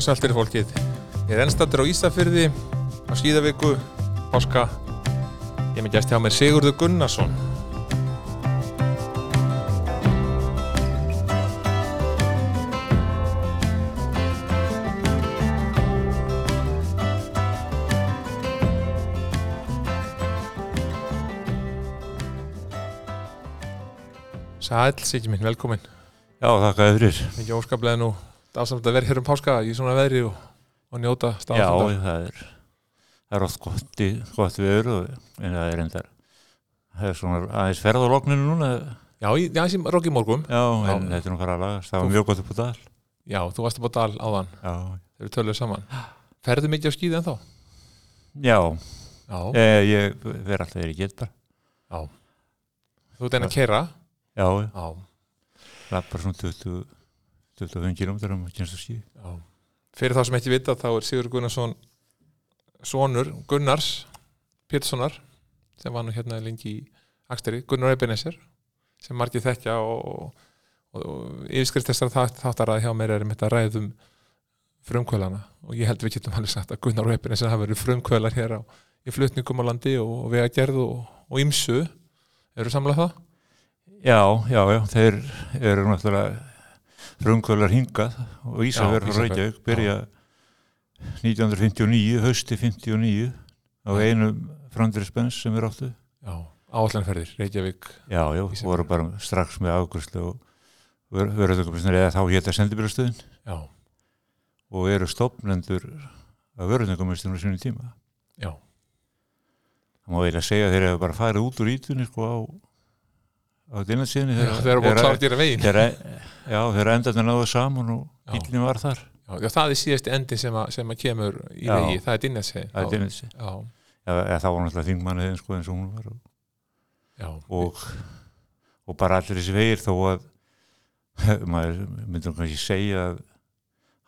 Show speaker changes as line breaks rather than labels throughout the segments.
Sælir fólkið, ég er ennstattur á Ísafyrði á skýðaviku, páska ég er með gæst hjá mér Sigurður Gunnarsson Sæl, Siggi minn, velkomin
Já, þakkaði fyrir.
mikið óskaplega nú dásamt að vera hér um páska í svona veðri og, og njóta
Já,
staðfunda
það er, það er oft gott, í, gott viður og en það er endar. Það er svona aðeins ferð á lokninu núna.
Já, ég, já, sem Rokki Morgum
Já,
Já.
en þetta er nú fara að lagast. Það
Þú-
var mjög gott upp á dal.
Já, þú varst upp á dal áðan
Já,
þegar við töluðum saman Ferðu mikið á skýði ennþá?
já
Já,
e, ég verð alltaf verið gett bara.
þú ert enn að keira
Já, ég
Já,
lappar svona 20, 25 km um að kynast að skýði.
já Fyrir þá sem ekki vita þá er Sigur Gunnarsson sonur Gunnars Péturssonar sem var nú hérna lengi í Aksteri Gunnar Ebenezer sem margir þekkja og, og, og yfirskrift þessar þáttarað hjá mér er mitt að ræðum frumkvölana og ég held við getum alveg sagt að Gunnar og Ebenezer hafa verið frumkvölar hér á í flutningum á landi og, og við að gerðu og, og ymsu eru samlega það?
Já, já, já, þeir eru náttúrulega frumkvölar hingað og Ísafjörður
Ísafjörð,
Reykjavík byrja 1959, hausti 59 á einu framdriðspens sem er áttu.
Já, áallanferðir, Reykjavík
Já, já,
Ísafjörður.
voru bara strax með águstlu og vörðungarbeisnar eða þá hétta sendibílastöðin
Já,
og eru stopnendur að vörðungarbeisnar á sínum tíma.
já,
Það má eiginlega segja að þeir hefur bara farið út úr ítunni sko á, á dynasíðinni.
já þeir eru búin að klára að gera veginn
Þeir, e- já, þeir endarnir náðu saman og
Já.
ítlunni var þar.
Já, já, það er síðasti endin sem að, sem að kemur í
Já.
vegi, það er Dinnesi
Það er dynasí.
Já,
eða, eða það var náttúrulega þingmannið sko, eins og hún var og,
já,
og, og bara allir þessi vegir þó að maður myndur kannski segja að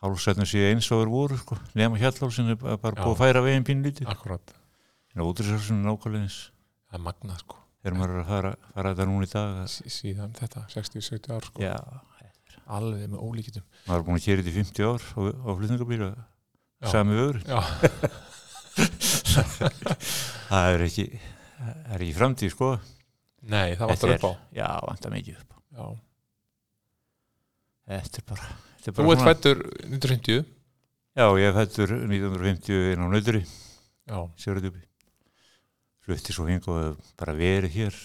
hálfsætnum séu eins og þeir voru sko, nema hjallálsinn er bara bara
Já.
búið að færa veginn pínlítið
akkurat
en útrísálsinn er nákvæmlega eins
Það er magnað sko,
þegar maður er að fara, fara þetta núna í dag að,
sí- síðan þetta 60-70 ár sko,
já,
alveg með ólíkitum
maður er búin að kera þetta í 50 ár á, á flutningabíla
Já.
sami vöður
Já,
það er ekki, það er ekki framtíð sko
nei, það
Þetta
vantar upp á
já, vantar mikið upp á
já.
þetta er bara, þetta er
Þú
bara
ert fættur 1950
já, ég er fættur 1950 inn á nöðri
Já,
Sigurðubi flutti svo hing og hef bara verið hér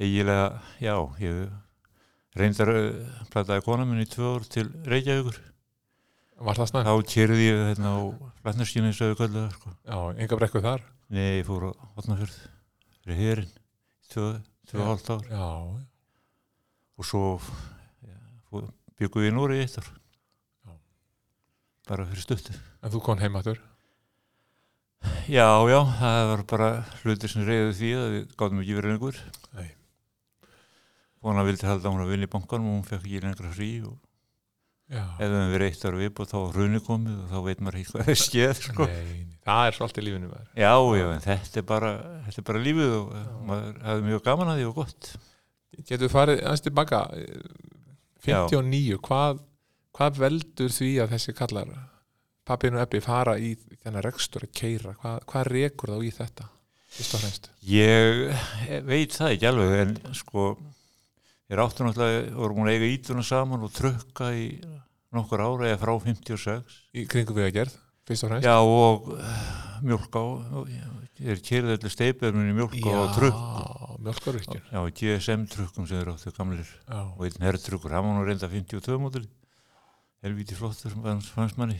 eiginlega, já ég reyndar uh, plataði kona minn í tvö ár til Reykjavíkur
var það snæð
þá kyrði ég hérna á flatnarskinu eins og við kallega sko.
Já, enga brekku þar
nei, ég fór á Hotnafjörð fyrir hérinn, tvö, tvö
Já.
og hálft ár
Já,
og svo já, fór, byggum við í Núri eitt ár
Já.
bara fyrir stuttu
en þú kom heim aftur
já, já, það var bara hlutir sem reyðu því að við gátum ekki verið lengur
Nei,
Hún vildi halda hún að vinna í bankanum og hún fekk ekki lengra frí og
já,
ef við hefum verið eitt ára viðbútt þá var hrunni komið og þá veit maður ekki hvað það skeð sko.
nei, nei, það er svo allt í lífinu maður
Já, já, en þetta er bara, þetta er bara lífið og já. maður hefði mjög gaman að því og gott.
Getur við farið aðeins tilbaka eh, 59, hvað, hvað veldur því að þessi kallar pappin og ebbi fara í þennan rekstur að keira, hvað, hvað rekur þá í þetta fyrst og fremst
Ég veit það ekki alveg en sko, ég er áttu náttúrulega, vorum hún að eiga ítuna saman og trukka í nokkur ára eða frá 56.
í kringum við að gerð, fyrst og fremst
Já, og eh, mjólk á, ég er kyrðið allir steipöðmunni mjólk á trukk.
mjölkarvirkjun
Já, GSM trukkum sem eru áttu gamlir.
já,
og einn herrtrukkur, hann var nú reynda 52 mótil helvíti flottur fannst, fannst manni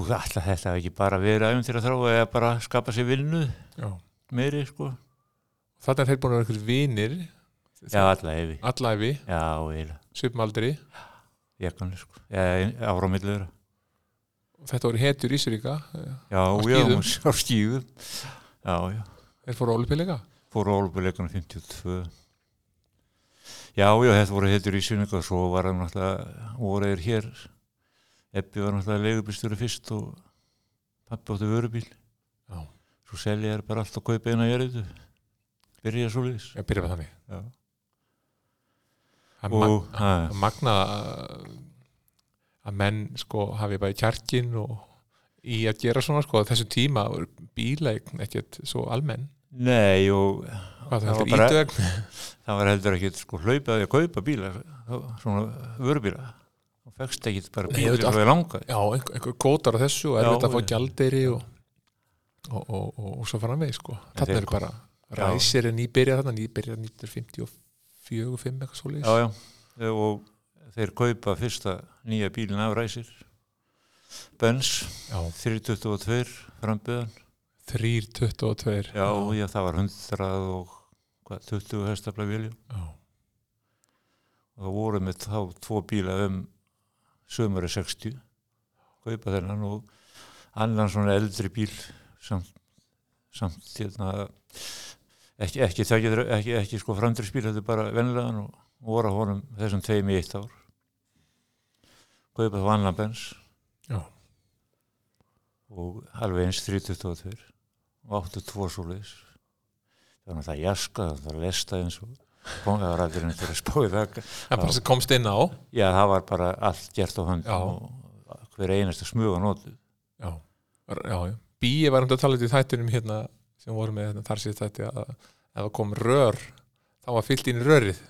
og alltaf þetta hafi ekki bara verið æfum til að þrá eða bara skapa sér vinnu
já.
meiri sko
Þarna er þeir búin að vera einhverjir vinir
já alltaf hefi,
allæfi,
já eiginlega
svipmaldri
ég kannu sko, já, ára á milli þeirra
þetta voru hetjur í eh, Ísuríka
já,
Á
já,
skíðum.
hún s- á skíðum já, já,
þeir fóru ólupilega
fór á ólbúleikunum 52 já, já, þetta voru heitur í sinningu og svo var hann náttúrulega voru þeir hér Ebbi var náttúrulega leigubýstur fyrst og pappi átti vörubíl
já,
svo selja þér bara allt að kaupa eina jörðu byrja svo liðs
ég byrja með þannig Það er
og ha,
magna uh, að menn sko hafi bara kjarkin og í að gera svona sko á þessum tíma voru bílægn ekkert svo almenn
Nei, og
hvað
Það
það
var bara-
heldur ítögn
það var heldur ekkit sko hlaupaði að kaupa bíla svona vörubíla og fegst ekkit bara
Nei,
bíla
auðvitað.
svo þið langaði
já, einhver, einhver kótar á þessu og
Já,
erfitt að fá
já.
gjaldeyri og, og, og, og, og svo framveg sko
þeir-
þarna er bara
Já.
ræsir er nýbyrjað þarna nýbyrjað 1954 og 5 eitthvað svo
Já, já, og þeir kaupa fyrsta nýja bílinn af ræsir Benz
já.
322 frambiðan
3.22
já, já, það var 100 og hvað, 20 hestafla vilju
já.
og það voru með þá tvo bíla um sömur 60 kaupa þennan og annan svona eldri bíl samt, samt hérna ekki, ekki, ekki, ekki, ekki sko framdriðsbíl, þetta er bara venlegan og voru á honum þessum tveim í eitt ár kaupa þá annan bens
Já.
og alveg eins 322 og 82 svo leis það var náttúrulega jaska, það var lesta eins og það var aldrei neitt að spóið það
það er bara
Já.
sem komst inn á
Já, það var bara allt gert á hönd
Já.
og hver einasta smuga nótu.
já, já, já. bíi var um þetta að tala um þetta í þættinum hérna sem vorum með hérna, þar síðast þætti að ef það kom rör þá var fyllt inn í rörið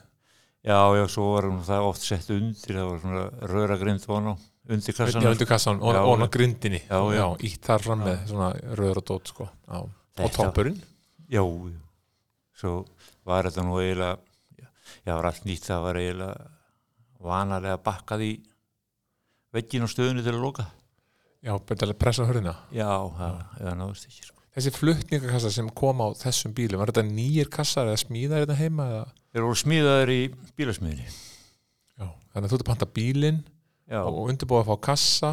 Já, já, svo var hún það oft sett undir, það var svona röragrind von á undir
Já,
kassanum.
undir kassan, hérna og
Já,
og á
já.
grindinni
Já, já.
ítt þar fram
Já.
með svona röður og dót sko já. og
Þetta-
toppurinn
Já, já. Svo var þetta nú eiginlega, já, var allt nýtt, það var eiginlega vanalega bakkað í veggin á stöðunni til að loka.
já, bara til að pressa hörðina
Já, það, það náðist ekki, sko.
þessi flutningakassa sem kom á þessum bílum var þetta nýjir kassar eða smíðar þetta heima eða?
Þeir voru smíðaðir í bílasmiðinni.
Já. þannig að þú ert að panta bílinn
Já,
og og undirbúa að fá kassa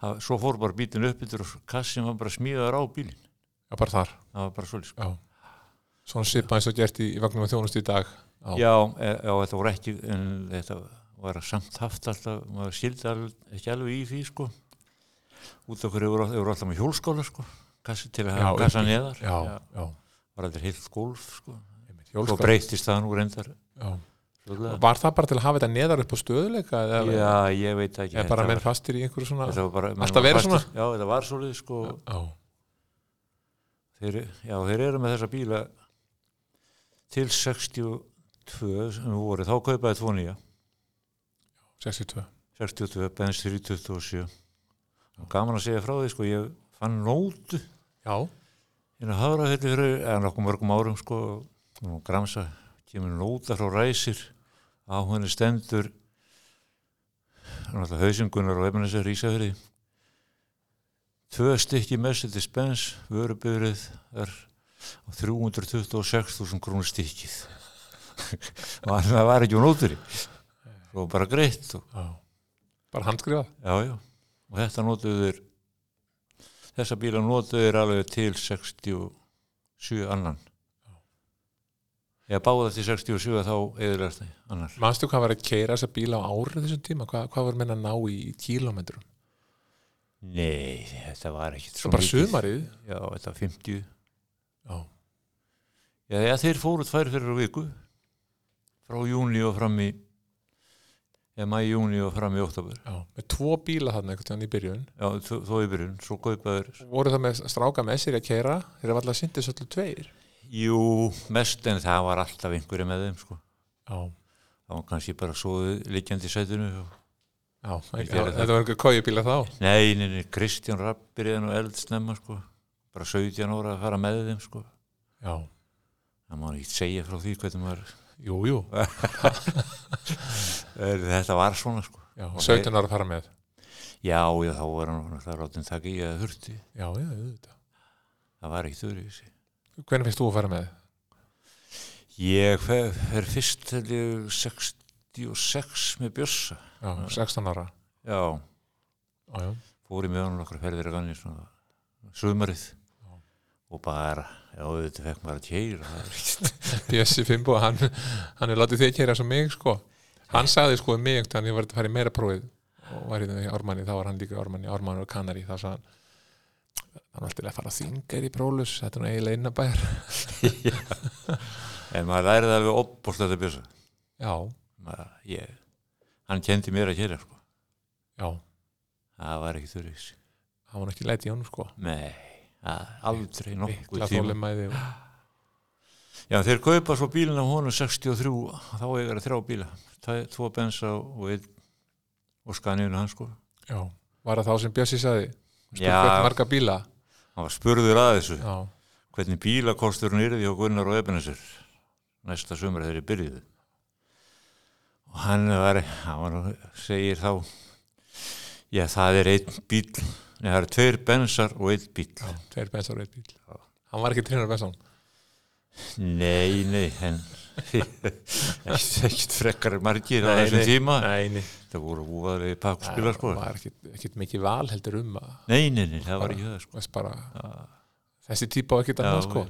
það, svo fór bara bílinn upp yfir og kassin var bara smíðaður á bílinn.
já, bara þar,
Það var bara svolítið, sko.
já svona svipa eins og gert í, í vagnum og þjónust í dag Já.
já, e- já, þetta voru ekki en þetta var samt haft alltaf, maður skildi al, ekki alveg í því sko út af hverju voru, all- voru alltaf með hjólskóla sko kassi til að
Já,
hafa kassa
uppi.
neðar
já,
Já,
já,
var þetta heilt gólf sko
einmitt,
svo
hjólskar-
breytist það nú reyndar
já.
fljótlega.
var það bara til að hafa þetta neðar upp á stöðuleika eða,
já, ég veit ekki
eða
þetta
bara menn
var,
fastir í einhverju svona
þetta var bara, menn
Alltaf
var
verið
fastir- já, þetta var svolítið sko
já,
þeir, já, þeir eru með þessa bíla til 62 sem voru, þá kaupaði tvo nýja
62
62, Benz 327 og gaman að segja frá því sko, ég fann nótu
já,
hérna hafra þetta fyrir en okkur mörgum árum sko og gramsa, kemur nóta frá ræsir á henni stendur náttúrulega hausingunar og efnins er Ísafjörði tvö stykki Mercedes Benz vörubyrðið er á 326.000 krónur stykkið og það var ekki á nótur og bara greitt og
já. bara handskrifað
Já, já, og þetta notuðu þeir þessa bíla notuðu þeir alveg til 67 annan eða báða til 67 þá eðurlega þetta annar
Manstu hvað var að keira þessa bíla á árið þessum tíma? Hvað, hvað var menn að ná í kílómetrum?
Nei, þetta var ekkit
Svo bara sumarið?
Já, þetta var 50
Já,
Já, já þeir fóru tvær fyrir á viku frá júni og fram í eða mæ júni og fram í oktober
já. Með tvo bíla þarna einhvern tíðan í byrjun.
Já, þó þó í byrjun, svo kaupaður
Voru það með stráka með sér að keira? Þeir var alltaf sindis öllu tveir.
Jú, mest en það var alltaf einhverju með þeim sko
Já,
það var kannski bara svoðið liggjandi í sætinu og...
já.
Þeir
Þetta
gerðu
var
það.
einhver kójubíla þá.
nei, nei, nei, Kristján Rapp byrjaði nú eld snemma sko bara 17 ára að fara með þeim sko
Já,
það má ekki segja frá því hvernig maður
jú, jú.
er, þetta var svona sko
Já,
Og
17 ára að fara með.
já, já, þá var hann það ráttinn takk í að þurfti
Já, já, auðvitað.
það var ekki þurri þessi
Hvernig finnst þú að fara með?
ég fer, fer fyrst til ég 66 með Bjössa
Já, 16 ára.
já,
Já, já.
fór í með hann okkur ferðir að ganni svona sumarið
Já.
og bara, já, þetta fekk maður að keira það er ekki
Bjössi Fimbo, hann, hann er látið þig kæra svo mig sko hann sagði sko um mig þannig að ég var að fara í meira prófið og var hérna í Ármanni, þá var hann líka í Ármanni Ármanni og Kanari, þá sagði hann hann var til að fara þingar í prólus þetta er nú eiginlega innabæjar
En maður lærið alveg opbóst þetta bjösa.
já,
Maður, ég, hann kendi mér að kera, sko.
já,
það var ekki þurris
það var nú ekki læti í honum sko
nei, það- aldrei nokkuð
mikla
tíma
þólimæði og...
já, þeir kaupa svo bílinn á honum 63 þá eiga þeir þrjá bíla Tæ- tvo bensa og einn og skaninu hans sko
já, var það þá sem Bjössi sagði
Já.
stúrkvæmt marga bíla
hann var spurður að þessu
já,
hvernig bílakosturinn yrði hjá Gunnar og Ebenesur næsta sumar þegar ég byrjuði og hann var, hann var nú- segir þá já það er einn bíl nei það eru tveir bensar og einn bíl
já, tveir bensar og eitt bíl hann var ekki trinar bensan
nei nei en ekkert frekkar margir á
Nei,
þessum
nei.
tíma
nei,
það voru úðarlega pakkspila sko
var ekkit, ekkit mikið val heldur um að
nei nei nei það var ekki það sko
veist bara,
Já.
þessi típa á ekkit annað
Já,
sko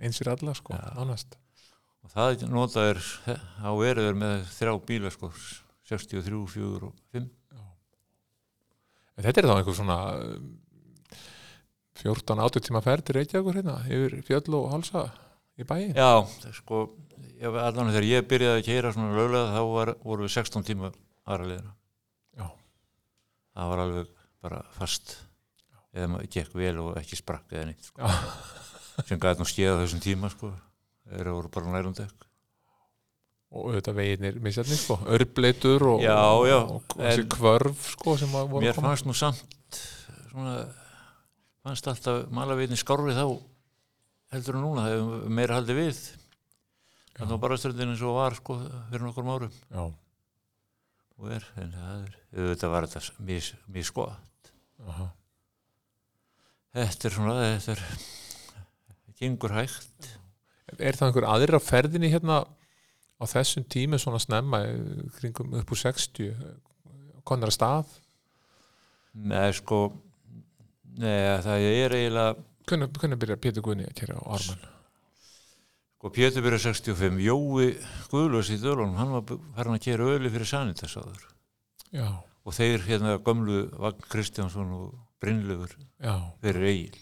eins fyrir alla sko, nánast
og það notaður á erður með þrjá bíla sko 63, 4 og 5
En þetta er þá einhver svona um, 14-18 tíma ferð til Reykjavíkur hérna yfir fjöll og hálsa í bæin
Já, það er sko, ég, allan þegar ég byrjaði að keira svona löglega þá var, voru við 16 tíma aðra leiðina.
Já.
Það var alveg bara fast, eða maður gekk vel og ekki sprakk eða neitt, sko. sem gæti nú skeða þessum tíma, sko, þeir voru bara nælundökk.
og auðvitað veginir misjarnir sko, örbleitur og,
Já, já,
og þessi
en-
kvörf sko sem að voru
Mér fannst nú samt, svona, fannst alltaf malavitin skárri þá heldur en núna, það hefur meira haldið við. Þannig var bara stöndin eins og var, sko, fyrir nokkur árum.
Já,
og er, en það er auðvitað var þetta mís, mískoða
aha,
þetta er svona, þetta er gengur hægt
Er það einhver aðrir á ferðinni hérna á þessum tími svona snemma eh, kringum upp úr 60 konar að stað
neða sko neða það er eiginlega
hvernig, hvernig byrjar Pétur Guðni að kæra á Arman
sko Pétur byrja 65, Jói Guðlösi í Dölunum, hann var bu- farin að gera öli fyrir Sanitas áður
Já,
og þeir hérna gömlu Vagn Kristjánsson og Brynlefur
já,
fyrir Egil,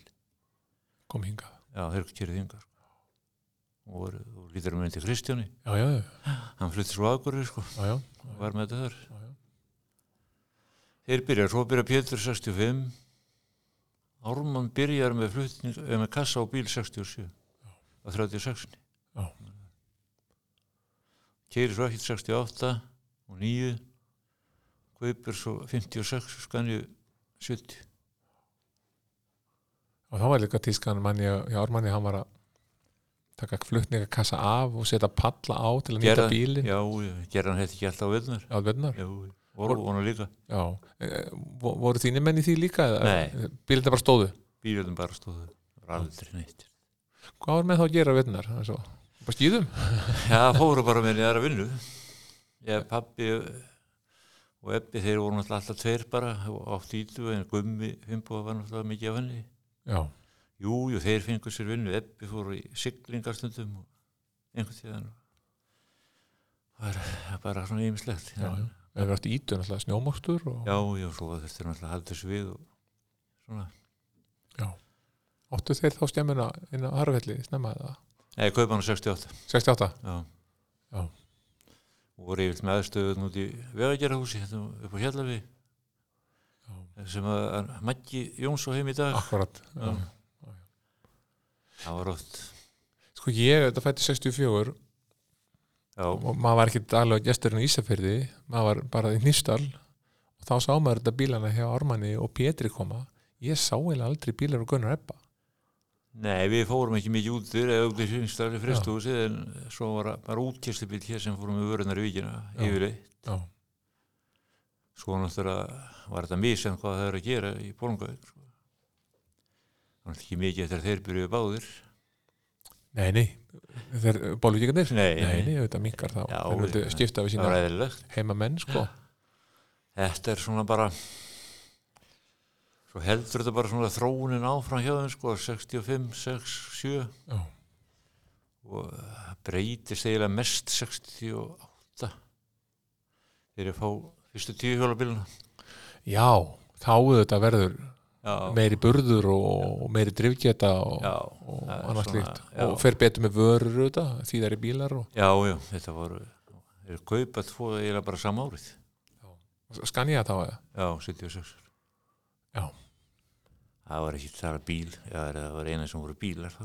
kom hingað
já þeir kerið yngar og, voru- og lítur um myndi Kristjáni
Já, já,
hann flytti svo aðgurri sko,
já, já,
var með þetta þar
já, já.
Þeir byrja, svo byrja Pétur 65 Ármann byrjar með, flutning, eh, með kassa á bíl 67 á 36
Já.
Keiri svo ekki 68 og 9 kaupir svo 56 skanju 70
og þá var líka tískan manni í Ármanni, hann var að taka flutningakassa af og setja palla á til að nýta
Gerða-
bílinn
Já, gerðan þetta ekki alltaf á vinnar
á vegnar
Já, orðu vonu líka
já. Eh, vo- voru þínir menn í því líka
Nei.
eða bílinn bara stóðu
bílum bara stóðu, það var aldrei neitt
hvað var með þá að gera vegnar bara skýðum
Já, fóru bara með aðra vinnu. Ég, pappi og Ebbi, þeir voru náttúrulega alltaf tveir bara á títu en Gummi Fimbo var náttúrulega mikið af henni.
já,
Jú, jú, þeir fengur sér vinnu. Ebbi fóru í siglingastundum og einhvern tíðan. Það er bara svona ýmislegt.
já, já. við varst ítu náttúrulega snjómokstur og
já, já, svo þurftir náttúrulega að halda þessu við og svona.
áttu þeir þá stemmuna inn á Harfelli snemma eða
Nei, kaupa hann á 68.
68
Já.
Já.
Og voru yfirlt með aðstöðun út í vegagerahúsi, hérna upp á Hjallavíð.
já.
sem að að Maggi Jóns á heim í dag
akkurat já.
Já. það var oft
sko ég, þetta fætti 64
já,
og maður var ekki daglega gesturinn í Ísafyrði maður var bara í Nýstal og þá sá maður þetta bílana hjá Ármanni og Pétri koma ég sá eiginlega aldrei bílar og Gunnar Ebba
nei við fórum ekki mikið út þurr eða út í sínstæli fristúsi en svo var bara útkjæslubíl hér sem fórum við vörunar í vikina
Já.
yfirleitt
já,
svo náttúrulega var þetta misjant hvað það er að gera í Bólungavík sko. það var náttúrulega ekki mikið eftir að þeir byrjuðu báðir
nei, nei þeir bólugíkarnir
Nei,
nei,
nei.
nei, þetta minkar þá
Já,
þeir vildu
já.
skipta við
það
sína
var eðlilegt
heimamenn sko
þetta er svona bara svo heldur þetta bara svona þróunin áfram hjá þeim sko 65, 6, 7
já,
og það breytist eiginlega mest 68 þegar ég fá fyrstu tíu hjólabíluna
já þá þetta verður
já,
meiri burður og og meiri drifgeta og,
já,
og
það er
annars
svona-
líkt
já.
og fer betur með vörur þetta, því það er bílar og
já, já, þetta voru þeir kaupa tvo eiginlega bara sama árið
skan ég að þá eða
já, 76
Já.
það var ekki þar bíl já, það var eina sem voru bílar þá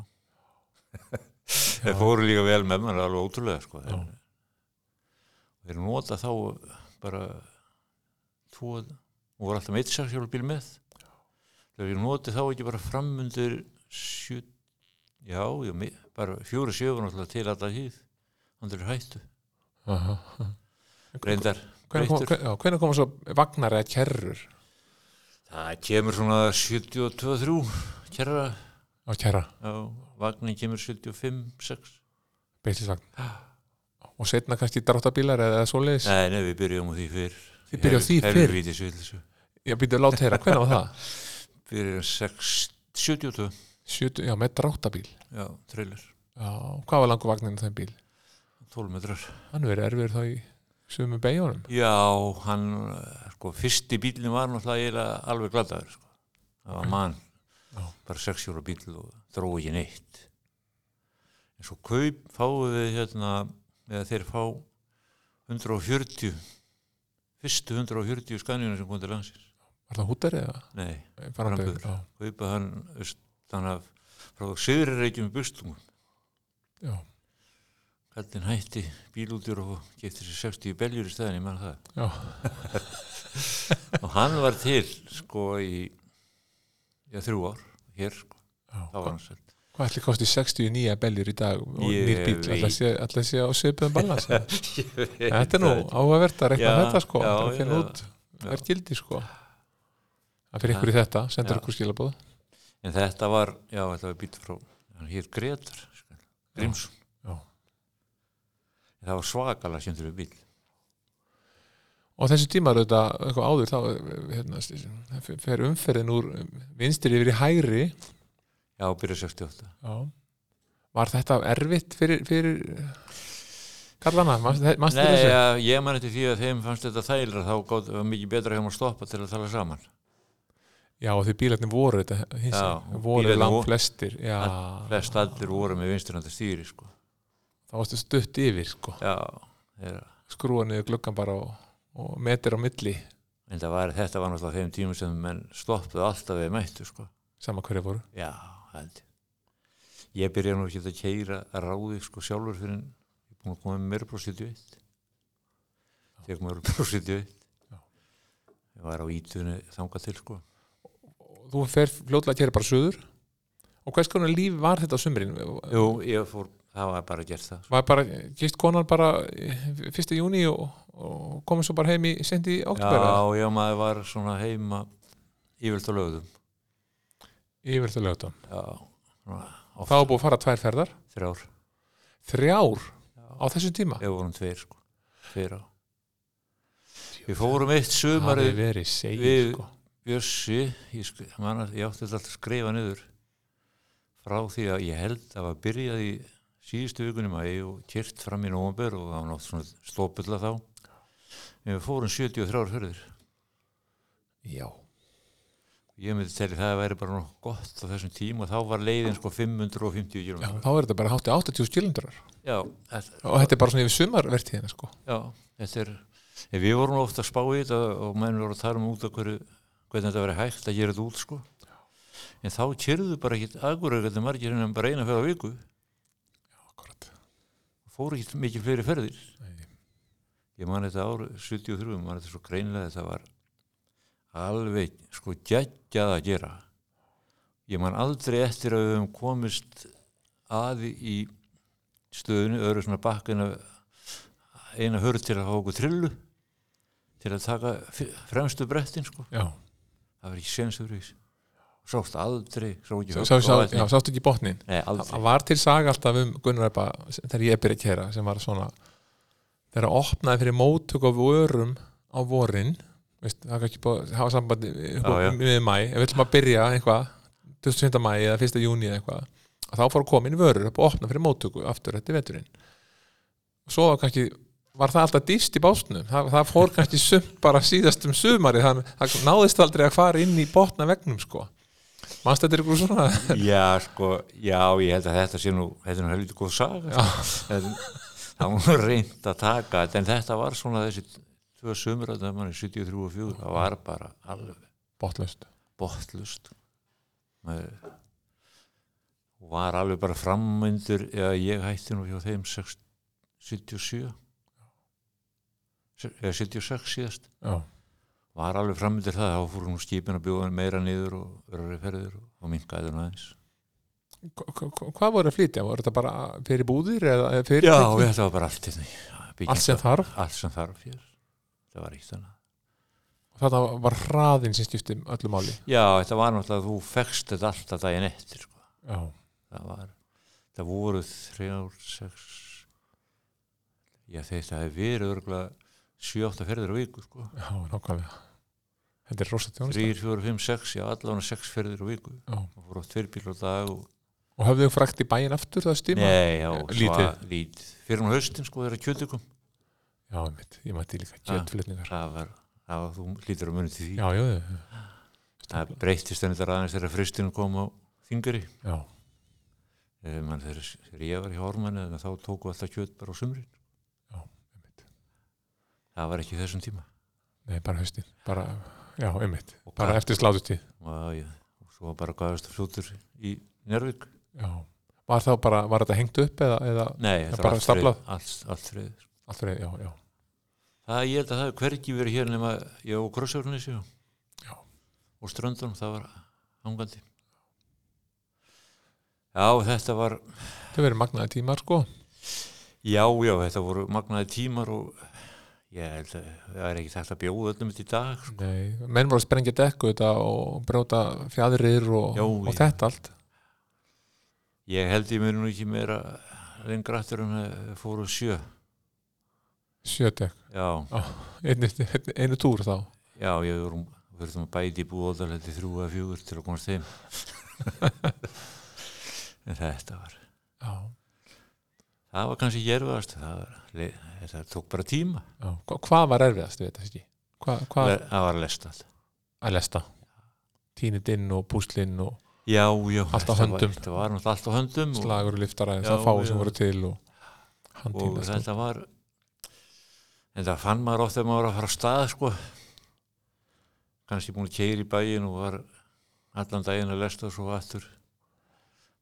þeir fóru líka vel með mér alveg ótrúlega sko. þeir, þeir nota þá bara tvo og voru alltaf með eitt sérfjólubíl með þegar ég noti þá ekki bara framundur sjö já, já, mi- bara fjóru sjöfun alltaf til alltaf hýð hann er hættu,
Aha.
reyndar
Hvenær kom-
breyttur.
hven- já, hvenær koma svo vagnar eða kerrur
það kemur svona 72-3 kjæra,
á kerra,
já, vagnin kemur 75-6
beislisvagn og setna kannski dráttabílar eða eða svoleiðis
nei, nei, við byrjum á því fyrr
Þið byrjað á því fyrr?
helvítið svilsu
ég býtti að láta þeirra, hvernig var það?
byrjum 6, 72
70, já, með dráttabíl
já, trailer,
já, hvað var langur vagninn á þeim bíl?
12 metrar
hann verið erfiður þá í sömu beigjónum
Já, hann, eh, sko, fyrsti bílinn var náttúrulega eiginlega alveg gladaður, sko. Það var mann,
Já.
bara sexjóra bíl og drói ekki neitt. En svo kaup fáið við hérna, eða þeir fá 140, fyrstu 140 skanjuna sem kom til landsins.
var það hútari eða?
Nei,
Nei, Farmbyggður,
Farmbyggður. kaupa hann austan af, frá Sigurreikjum í Bustungum.
já, já,
Kallinn hætti bílútur og getur sér 60 beljur í stæðinni, mann það.
já,
og hann var til sko í já, þrjú ár hér sko,
já.
þá var hann sett
hvað ætli kosti 69 beljur í dag og
Ég
nýr bíl,
veit.
ætli að sé, ætli að sé á svipuðum balans eða? þetta er nú áhugavert að reikna
Já,
þetta sko
já,
já, að finna
já,
út, það er gildi sko að fyrir ykkur í þetta, sendur
Já.
ykkur skilabóð
en þetta var, já þetta var bíl frá hann hér Gretar sko, Grímsson
Já, já.
En það var svakalega skemmtur við bíl
og þessi tímar auðvitað, eitthvað áður þá hérna, fer umferðin úr vinstri yfir í hægri
já, byrja 68
já. var þetta erfitt fyrir, fyrir kallana, mannstu
Nei,
þessu?
ja, ég man eftir því að þeim fannst þetta þægilega þá gátt var mikið betra hjá að stoppa til að tala saman
Já, og því bílarnir voru þetta hins,
Já,
voru
bílarnir
langt
voru-
flestir já,
flest allir voru með vinsturandi stýri sko.
þá varstu stutt yfir sko.
já, þeirra
skrúa niður gluggan bara og, og metir á milli
en það var, þetta var náttúrulega þeim tímum sem menn stoppuðu alltaf við mættu sko.
sama hverja voru
Já, held ég. Ég byrja nú ekki að keira að ráði sko sjálfur fyrir en ég er búin að koma með mér prósitu eitt. Þegar mér prósitu eitt.
Já.
Ég var á ítunni þangað til sko.
og þú fer fljótlega að kera bara söður og hvers konar líf var þetta á sumrin
Jú, ég fór, það var bara að gera það. sko.
var bara, gist konan bara eh, 1. júni og, og komið svo bara heim í sendi í oktober
Já, já, maður var svona heima yfirlt á lögðum.
yfir það lögðum
Já, svona
þá er búið að fara tvær ferðar
þrjár.
þrjár á þessum tíma
Við vorum tveir sko, tveir á. Við fórum eitt sumarið
er verið segið
við-
sko.
Bjössi, ég, skri, man, að- ég átti þetta alltaf að skrifa niður frá því að ég held að var byrjað í síðustu vikunni maður og kyrkt fram í nómber og það var nátt svona stópulla þá en við fórum 73 hörður
já,
ég myndi telli það að væri bara nokkuð gott á þessum tíma og þá var leiðin sko 550
já,
km
þá er þetta bara hátti 80 skilindrar
já, þetta,
og þetta er bara svona yfir sumarvertíðina sko.
já, þetta er en við vorum nú ofta að spá í þetta og menn voru að tala um út af hverju hvernig þetta verið hægt að gera þetta út sko en þá kyrðu bara ekki aðguraugatni margir en bara eina fyrir viku
Akkurat.
fór ekki mikið fleiri ferðir
Nei.
ég man þetta ár 73, man þetta svo greinlega þetta var alveg sko geggjað að gera ég man aldrei eftir að við höfum komist að í stöðunni, öðru svona bakkina eina hörð til að hafa okkur trillu til að taka f- fremstu brettin sko,
Já,
það var ekki sensur sást aldrei, sá ekki
sá, sá,
högg á
sá,
vatni.
já, sáttu ekki botnin
Nei, aldrei
Það var til saga alltaf um Gunnar Eppa þegar ég er byrja að kera sem var svona þegar að opnaði fyrir móttök á vörum á vorin veist, það var ekki búið að hafa sambandi
Já, já.
með mæ, ef við ætlum að byrja eitthvað 25. mæ eða 1. júni eða eitthvað og þá fór að koma inn vörur upp og opna fyrir móttöku aftur þetta er veturinn og svo var kannski var það alltaf dýst í básnum það, það fór kannski sum, bara síðast um sumari þannig það náðist aldrei að fara inn í botna vegnum sko mannst þetta er ykkur svona
Já, sko, já, ég held að þetta sé nú, þetta er nú helviti góð saga sko. en það var reynd að taka þetta, en þetta var svona þessi tvö sömur að það manni 73 og 4, það var bara alveg
botlaust
botlust og var alveg bara frammyndur eða ég hætti nú hjá þeim 6, 77 Se- eða 76 síðast
já,
var alveg frammyndur það þá fór hún skipin að bjóða meira niður og örari ferðir og, og minkaði hún aðeins
Hva- hva- hva- hvað voru að flytja, voru þetta bara fyrir búðir eða eða fyrir
Já, þetta var bara allt hérna í- bygging-
allt sem þarf,
allt sem þarf hér það var eitt annað
þetta var hraðin sem skipti öllu máli
Já, þetta var náttúrulega að þú fekst þetta alltaf daginn eftir sko.
já,
það var, það voru þrjár, sex já þeir það hefði verið örgulega sjö, átta ferðir á viku sko.
já, nákvæmlega þetta er rosa tjónust
þrýr, fjóru, fimm, sex, já allavega sex ferðir á viku
Já.
og voru tveir bílar á dag og,
og höfðu þau frækt í bæin aftur það stíma
nei, já, svo
Lítið.
að- lítið fyrir hún haustin sko þeirra kjötikum
já, mitt, ég mætti líka
Ah.
kjötflutningar
það var, það var, þú lítur að munið til því
já, já, já,
það breyttist henni þar aðeins þegar fristinu kom á þingari
já,
Eh, Man, þegar, þegar ég var í Hármanni þá tóku alltaf kjöt bara á sumrin
Já, einmitt.
það var ekki í þessum tíma
nei, bara haustin bara, já, einmitt,
Og
bara
hvað-
eftir slátutíð
og, já, og svo bara gafast að fljótur í Njörvík
já, var þá bara, var þetta hengt upp eða, eða
Nei,
Það
það
bara
var allt þrið-
staflað?
allt, allt þrið
allt fyrir, já, já,
það ég held að það er hvergi verið hér nema ég og Krossjórnissi
Já.
og Ströndunum, það var hangandi já, þetta var
þau verið magnaði tímar, sko
já, já, þetta voru magnaði tímar og ég held að það er ekki þetta að bjóða öllum þetta í dag sko.
Nei, menn voru að sprengja dekku þetta og brjóta fjadrir og,
Já,
og
já.
þetta allt
ég held ég mér nú ekki meira lengra aftur en eh, fóru sjö
sjötek,
já,
einu, einu túr þá
já, ég vorum verðum að bæti í búðalhaldi þrjú að fjögur til að komast heim en þetta var
já,
það var kannski gerðast það var, le- þetta tók bara tíma
já. Hva, hvað var erfiðast við þetta ekki Hva, hvað
Le- það var lest allt
að lesta tínit inn og púslinn og
já, já,
Allt á
þetta
höndum.
var, þetta var náttúrulega allt á höndum og,
slagur og liftara eins
Já,
að fá
já.
sem voru til og
og
handtíma sko.
þetta var en það fann maður oft þegar maður var að fara á stað sko kannski búin að keiri í bæin og var allan daginn að lesta og svo aftur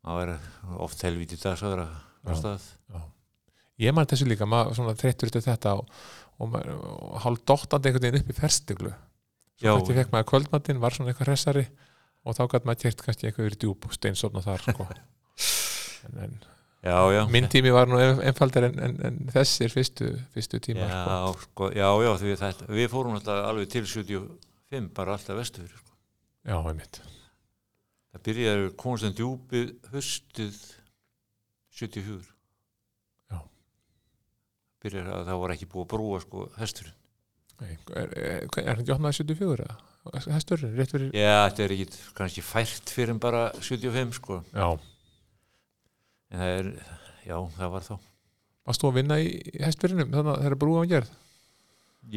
maður er oft helvítið dagsaður að fara á
Já.
stað
ég maður þessu líka, maður svona þreyttur eftir þetta og, og, maður- og hálf dottandi einhvern veginn upp í ferstuglu
Já,
þetta fekk maður kvöldmattinn, var svona eitthvað hressari og þá gætt maður kert kannski eitthvað yfir djúb og steinsofna þar sko. en, en
já, já
minn tími var nú einfaldar en, en, en þessir fyrstu, fyrstu tímar sko.
já, sko, já, já, því þetta, við fórum alltaf alveg til 75 bara alltaf vestur sko.
já, einmitt
það byrjaði konstantin djúpið höstuð 74
Já.
byrjaði að það var ekki búið að brúa sko, hesturinn
Nei, er, er, er hann ekki opnaði 74 eða? hesturinn, rétt fyrir
já, þetta er ekki kannski fært fyrir en bara 75 sko
já,
en það er, já, það var þá
varst þú að vinna í í um hestfyrinum þannig að þeirra brúið á gerð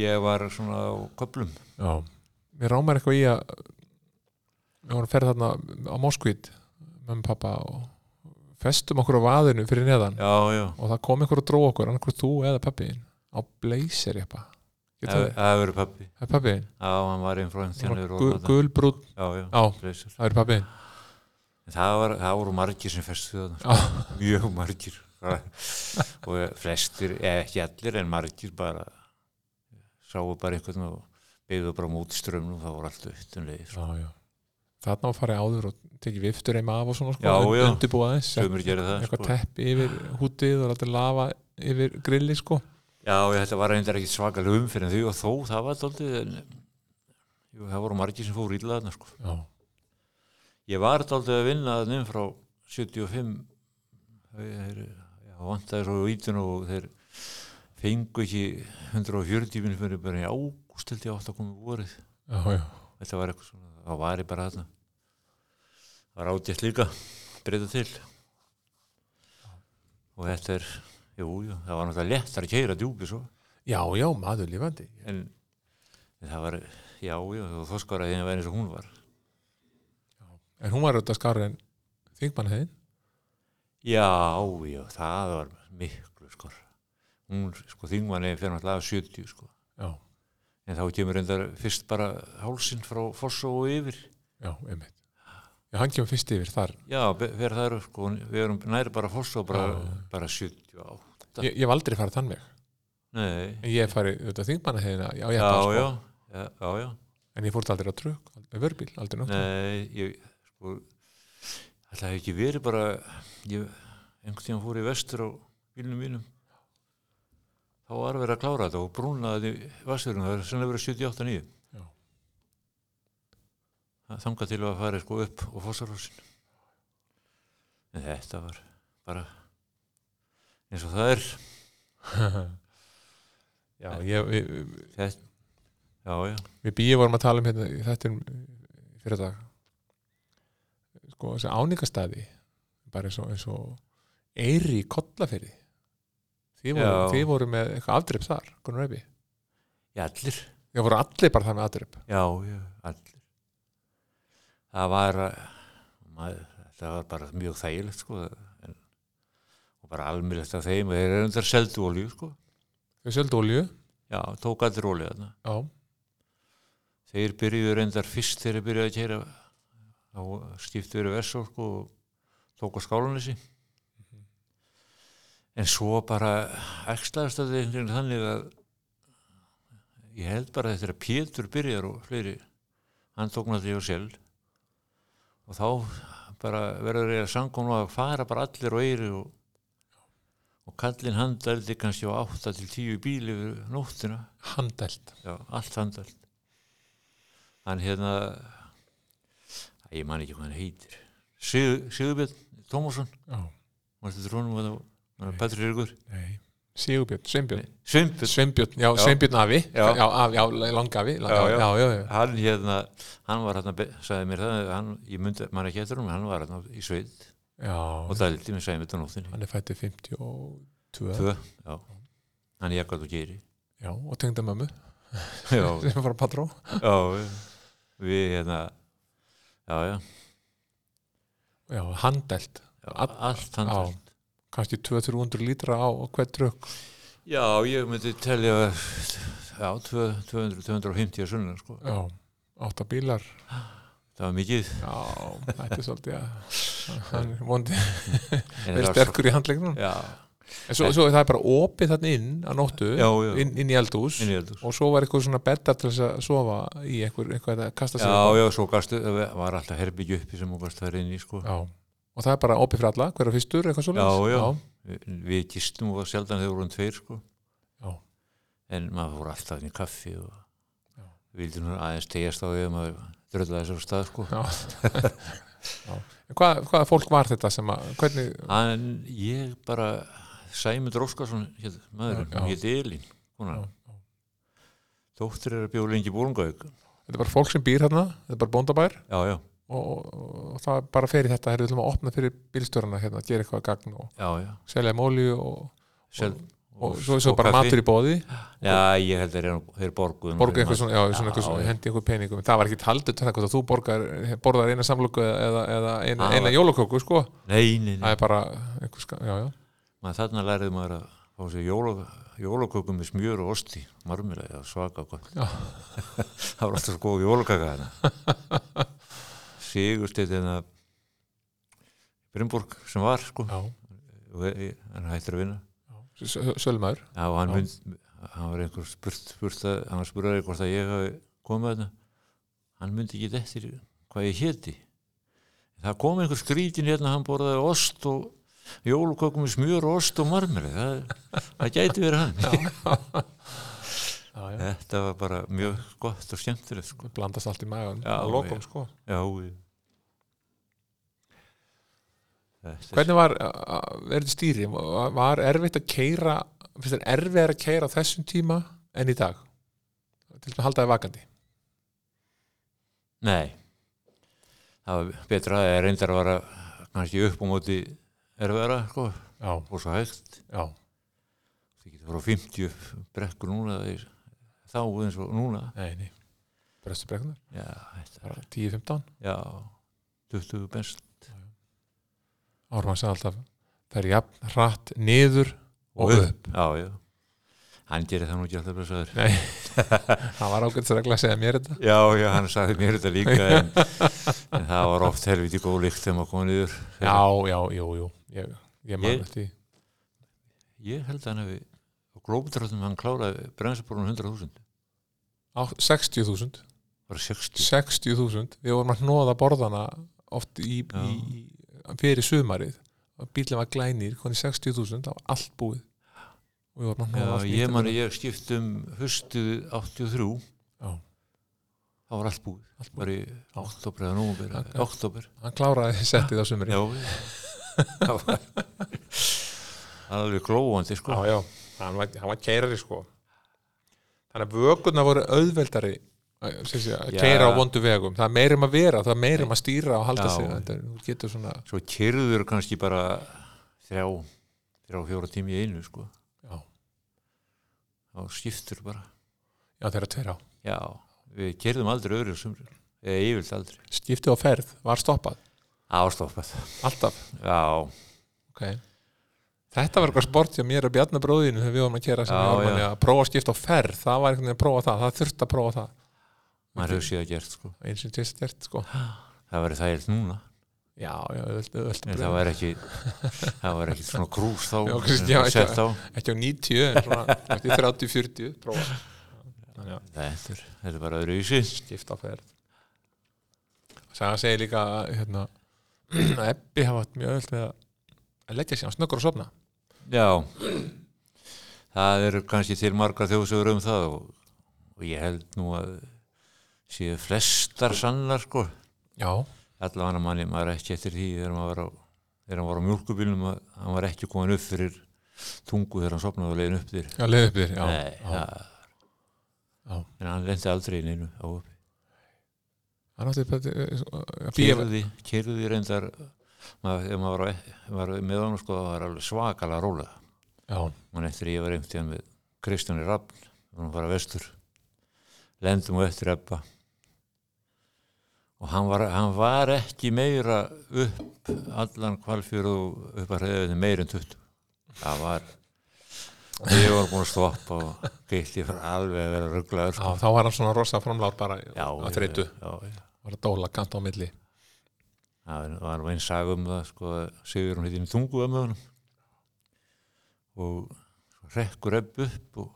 ég var svona á köplum
já, mér rámar eitthvað í að við vorum að ferð þarna á Moskvít með pappa og festum okkur á vaðinu fyrir neðan
já, já,
og það kom einhver og dró okkur, annarkur þú eða pappiðin á blazer ég bara
það
það
það verið pappi
er pappiðin,
já, hann var einn frá einn
Hann var
þjónur
gu- gulbrúnn
já, já,
á,
leysir
það er pappiðin
En Það, var, það voru margir sem festu þarna,
Já.
sko. mjög margir og flestir, eða ekki allir en margir bara sáu bara einhvern og byggðu bara múti strömmnum, það voru alltaf utanlegir sko.
já, já. þarna var farið áður og tekið viftur heima af og svona sko,
Já, já.
undirbúa þess
Sumir gerðu það
eitthvað
sko.
teppi yfir hútið og látið lava yfir grilli sko
Já, ég, þetta var reyndar ekki svakalega umfyrir en þau og þó, það var daldið en jú, það voru margir sem fóru illa þarna sko.
já,
Ég var daldið að vinna þarna frá 75 þeir já, vantaði svo vítun og þeir fengu ekki 140 minnum fyrir bara í ágúst held ég átt að koma í vorið
já, já,
þetta var eitthvað svona, það var ég bara þarna það var átjætt líka breyta til og þetta er jú, jú, það var náttúrulega léttar að keira djúpi svo,
já, já, maður lífandi
en, en það var, já, já, þú þoskar að þínu væri eins og hún var
en hún var auðvitað skarri en þingmannheiðin
já, já, það var miklu skor hún, sko, þingmanni fyrir náttúrulega af 70 sko,
já,
en þá kemur reyndar fyrst bara hálsinn frá foss og yfir
já, einmitt já, hann kemur fyrst yfir þar
já, verður það eru sko við erum næri bara foss og bara,
Já.
bara 78
ég, ég hef aldrei farið þann veg
nei,
en ég hef farið auðvitað þingmanna þeirna já,
já,
ég hef
já,
sko.
já, já, já.
en ég fór þetta aldrei á trukk, með vörbíl aldrei nótt
Nei, ég sko Það hef ekki verið bara ég, einhvern tíðan fór ég vestur á bílnum mínum þá var verið að klára þetta og brúnaði vassurinn, það er sennilega verið 78-9
Já.
Það þangað til að fara sko upp og fossarhúsin en þetta var bara eins og það er
já, ég, við,
þetta, já, já,
við býið vorum að tala um hérna, þetta um fyrir dag sko, þessi áningastæði bara eins og, eins og Eiri í Kollafyrði þið voru,
Já.
þið voru með eitthvað afdreip þar, Gunnar Reybi
já, allir
það voru allir bara það með afdreip
Já, já, allir. Það var, eh, maður, það var bara mjög þægilegt, sko, en, og bara almilegt af þeim, og þeir eru undar seldu olíu, sko.
þau söldu olju
Já, tók allir olíu þarna.
já,
Þeir byrjuðu reyndar fyrst þegar þeir byrjuðu að kæra, þá skiptu verið versó, sko, og tók á skálanessi. En svo bara ekstlaðast að þeir þannig að ég held bara að þetta er að Pétur byrjar og fleiri, hann tók náttúrulega og sjálf og þá bara verður ég að samkomna að fara bara allir og eiri og, og kallinn handaldi kannski á 8 til 10 bíli yfir nóttina
handelt
Já, allt handalt Hann hérna Æ, ég man ekki hvað hann heitir Sigur, Sigurbjörn Tómasson
já,
Mástu trónum að það Petri Ríkur
nei, Sigurbjörn, Sveinbjörn
Sveinbjörn
Sveinbjörn, já,
Já.
Sveinbjörn Afi já,
Já.
já, afi, já langafi lang,
Já,
já,
já.
já, já, já.
hann hérna, hann var hérna sagði mér það, hann, ég myndi maður ekki eftir hún, hann var hérna í sveit og
já
dældi, mér sagði mér þetta nóttinni
hann er fættið 52
tvö, já hann ég gæti og geri
já, og tengda mömmu
já,
sem var að patró
já, við hérna já, já,
já, handelt
já
All-
allt hann
já. kannski 200-300 lítra á á hvern trukk
já, ég myndi telja já, 200-250 sunnan, sko,
já, átta bílar
það var mikið
já, þetta er svolítið að hann er vondi
en
verið
það var
sterkur í handleiknum
svo- já,
en svo, svo er það er bara opið þannig inn að nóttu
eh. já, já,
inn, inn í eldhús
inn í eldur
og svo var eitthvað svona bedda til þess að sofa í eitthvað, eitthvað að kasta
já,
sér upp á.
já, svo gastu, það var alltaf herbyggju uppi sem hún gastu það inn í, sko
Já. og það er bara opið fyrir alla, hver er fyrstur eitthvað svo
Já, já. við, við gistum og sjaldan þegar vorum tveir sko.
Já.
en maður fór alltaf inn í kaffi og
Já.
vildi nú aðeins tegjast á því að maður dröðlaði þessu stað sko.
En Hvað, hvaða fólk var þetta sem að, hvernig,
en ég bara Sæmundur Óskarsson hét, maðurinn,
Já, já.
hún hétt Elín
Já,
konan.
já.
dóttir er að bjóða lengi búrungauk
þetta er bara fólk sem býr hérna, þetta er bara bóndabær
já, já,
og, og, og það er bara fer í þetta, herrðu, við ætlum að opna fyrir bílstjórana hérna, gera eitthvað gagn og
já, já.
selja móli og,
Sel,
og svo er svo bara matur í bóði,
já, ég held að þeir borguðum
borga
fyrir
eitthvað
mat.
svona, já, svona eitthvað
Já,
svona,
já.
hendi eitthvað peningum, það var ekki taldið þannig hvort að þú borgar, borðar eina samlöku eða, eða eina,
Það
eina
var-
jólaköku, sko,
nei, nei, nei,
það er bara eitthvað, ska- já, já,
maður þarna lærið maður að fá sér jóla, jólakökum með smjör og osti, marmila eða svaka gott.
Já.
það var alltaf svo góð jólakaka þarna Sigursteinn hérna Brynborg sem var sko
já,
og e- e- hann hættur að vinna
S- s- sölmaður,
Já, og hann,
Já.
mynd, hann var einhver spurt, spurt að, hann var spurðið hvort að ég hafi komið þarna hann myndi ekki eftir hvað ég héti það kom einhver skrítin hérna hann borðaði ost og jólukökum með smjör og ost og marmri það, það gæti verið hann
já, já,
þetta var bara mjög gott og skemmtilegt sko.
blandast allt í magan, á
Já,
lokum,
já.
sko.
já ég- Þetta er-
Hvernig var verður stýri? Var- Var erfitt að keira finnst þér erfitt að keira á þessum tíma en í dag? Til þess að halda þið vakandi
nei það var betra að reyndar var að kannski upp á móti erfiðara sko,
Já,
og svo hægt
já,
það getur frá 50 brekkur núna eða í- þá eins og núna
nei, nei Brestu bregnar,
já, þetta, er-
10-15
já 20 best
Ármann sagði alltaf Það er jafn hratt niður og upp
já, já hann gerir það nú ekki alltaf blessaður
Nei, það var ágætisregla að segja mér þetta
já, já, hann sagði mér þetta líka en, en það var oft helviti góð líkt þegar maður komið niður
Já, já, jú, jú Ég, ég man
Ég-
eftir því.
ég held að hann hefði og glóbutrátum hann kláraði bremsabúrunum 100.000
Á 60.000
bara 60
60.000 Við vorum að hnoða borðana oft í,
Já.
í, í fyrir sumarið og bílum var glænir, konið 60.000 það var allt búið og við vorum að hnoða
já,
allt
ég
nýtt.
man að ég skipt um höstu 83
Já.
það var allt búið,
Allt búið.
bara í oktober eða nómur,
Ok.
oktober
Hann kláraði settið á sumri
já það var alveg glóandi sko
já, hann var, hann var keirari sko Þannig að vökunna voru auðveldari að, sem sé, að
Já.
keira á vondu vegum það er meirum að vera, það er meirum að stýra og halda
Já.
sig, þetta er, þú getur svona
svo kyrður kannski bara þrjá, þrjá fjóra tími í einu sko,
já,
þá skiptur bara
já þeirra tveir á
já, við kyrðum aldrei öðru sumri, eða yfirlt aldrei
skiptið á ferð, var stoppað
ástoppað,
alltaf,
já,
ok þetta var eitthvað sport hjá mér og Bjarni bróðinu þegar við vorum að kera sem
Já,
við vorum
já.
að prófa að skipta á ferð það var einhvern veginn að prófa það, það þurfti að prófa það
maður hefur síðan gert sko
eins og tist gert sko
það væri þægilt núna,
já, já, öll,
en
öll,
það væri ekki það væri ekki svona krús þá
Já,
sem
kannski, já,
var sett á.
ekki á 90 en svona, eftir 30-40 prófa þannig að
þetta er, þetta er bara öðru í sín
skipta á ferð Sagan segir líka hérna, að Ebbi hafa átt mjög öll með að leggja sér á snöggur og sofna
já það eru kannski til margar þjóðsögur um það og, og ég held nú að séu flestar sannar sko
já,
allavega manni, maður er ekki eftir því þegar maður var á, þegar hann var á mjölkubílum að hann var ekki komin upp fyrir tungu þegar hann sopnaði og leiðin upp þér
já leið upp þér já,
Nei,
já,
það,
já.
en hann lendi aldrei inn einu á uppi
hann átti eh, bara bíða
kerði, kerði reyndar maður, þegar maður var, á- ef maður var með hann sko, það var alveg svakalega róla
já,
mann eftir ég var einhvern tíðan með Kristjáni Rappn og hann var að vestur lendum og eftir eppa og hann var, hann var ekki meira upp allan kvalfjör og upp að hreða meira en 20 það var ég var búin að stoppa og geitt ég fyrir alveg að vera rugglaður
Já, þá var hann svona rosa framlát bara
já,
á
ég-
þreytu,
já, já.
var að dóla kant á milli
það var- var nú einn sag um það sko, að Sigur hún heitin tungu að með honum og svo rekkur upp upp og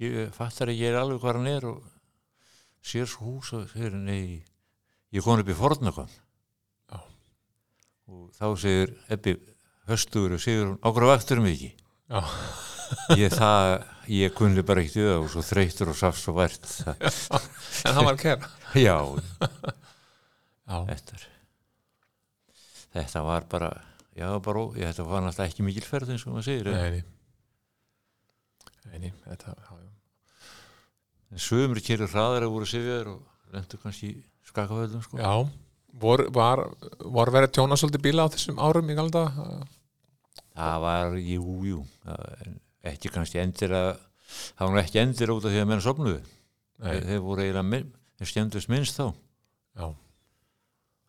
ég fattar ekki ég er alveg hvað hann er og sér svo hús og segir nei, ég kom upp í Fornakon
Já.
og þá segir Ebbi höstugur og Sigur hún okkur vaktur mig ekki
Já.
ég það, ég kunni bara ekkert við það og svo þreytur og saft svo vært það,
en hann var að kera
já,
já,
þetta er þetta var bara já bara, ó- ég, þetta var náttúrulega ekki mikil ferð eins og maður segir, en
neini neini, þetta já, já.
en sömur kyrur hraðar að voru sifjaður og lendur kannski í skakaföldum sko.
já, vor, var, var verið að tjóna svolítið bíla á þessum árum í galda
það var, jú, jú það- en ekki kannski endir að það var nú ekki endir út af því að menn sopnuðu þeir, þeir voru eiginlega minn, þeir skemmtust minnst þá
Já.